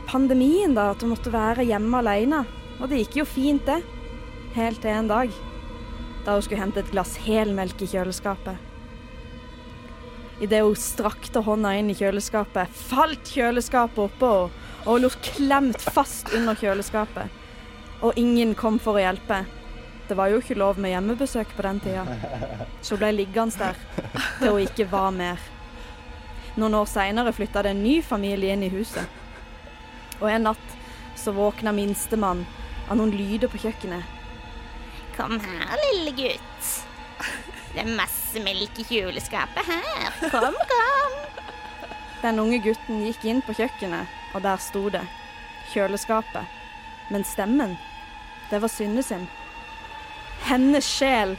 pandemien, da, at hun måtte være hjemme alene. Og det gikk jo fint, det. Helt til en dag. Da hun skulle hente et glass helmelk i kjøleskapet. Idet hun strakte hånda inn i kjøleskapet, falt kjøleskapet oppå henne, og hun lå klemt fast under kjøleskapet. Og ingen kom for å hjelpe. Det var jo ikke lov med hjemmebesøk på den tida, så hun ble liggende der til hun ikke var mer. Noen år seinere flytta det en ny familie inn i huset. Og en natt så våkna minstemann av noen lyder på kjøkkenet. Kom her, lille gutt. Det er masse melk i kjøleskapet her. Kom, kom. Den unge gutten gikk inn på kjøkkenet, og der sto det kjøleskapet. Men stemmen, det var Synne sin. Hennes sjel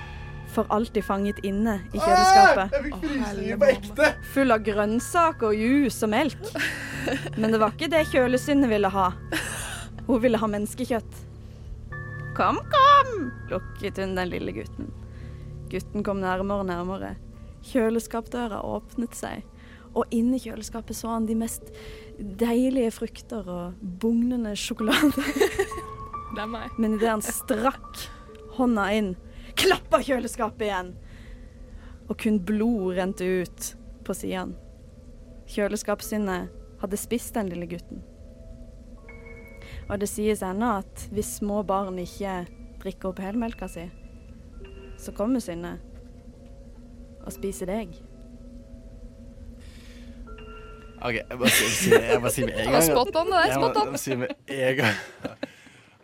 for alltid fanget inne i kjøleskapet. Jeg fikk frysninger på ekte! Full av grønnsaker og juice og melk. Men det var ikke det kjølesynne ville ha. Hun ville ha menneskekjøtt. Kom, kom! lukket hun den lille gutten. Gutten kom nærmere og nærmere. Kjøleskapdøra åpnet seg, og inni kjøleskapet så han de mest deilige frukter og bugnende sjokolade. Det er meg. Men idet han strakk hånda inn, klappa kjøleskapet igjen. Og kun blod rente ut på sidene. Kjøleskapssinnet hadde spist den lille gutten. Og det sies ennå at hvis små barn ikke drikker opp helmelka si, så kommer sinnet og spiser deg. Ok, jeg bare sier si, jeg bare sier med en gang. at- Det var spot on, det der, Jeg spot må- on. Jeg må si med en gang.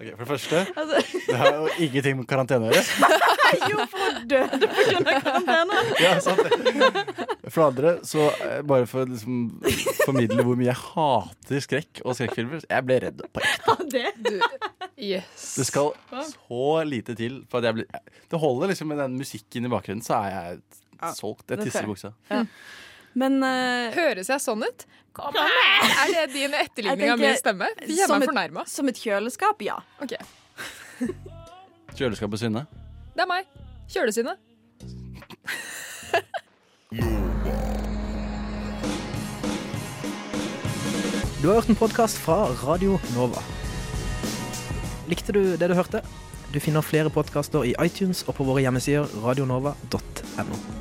Ok, For det første, Altså- det har jo ingenting med karantene å gjøre. jo, for hun døde pga. karantene. Ja, sant det. For det andre, så eh, bare for å liksom formidle hvor mye jeg hater skrekk og skrekkfilmer, jeg ble redd på ekte. det? Yes. Det skal Hva? så lite til for at jeg blir Det holder liksom med den musikken i bakgrunnen, så er jeg solgt. Jeg det tisser i tror buksa. Men eh, Høres jeg sånn ut? Kom her! Er det din etterligning av min stemme? Fy, Jeg som, er et, fornærma. som et kjøleskap, ja. OK. Kjøleskapet Synne. Det er meg. Kjølesynet. Du har hørt en podkast fra Radio Nova. Likte du det du hørte? Du finner flere podkaster i iTunes og på våre hjemmesider radionova.no.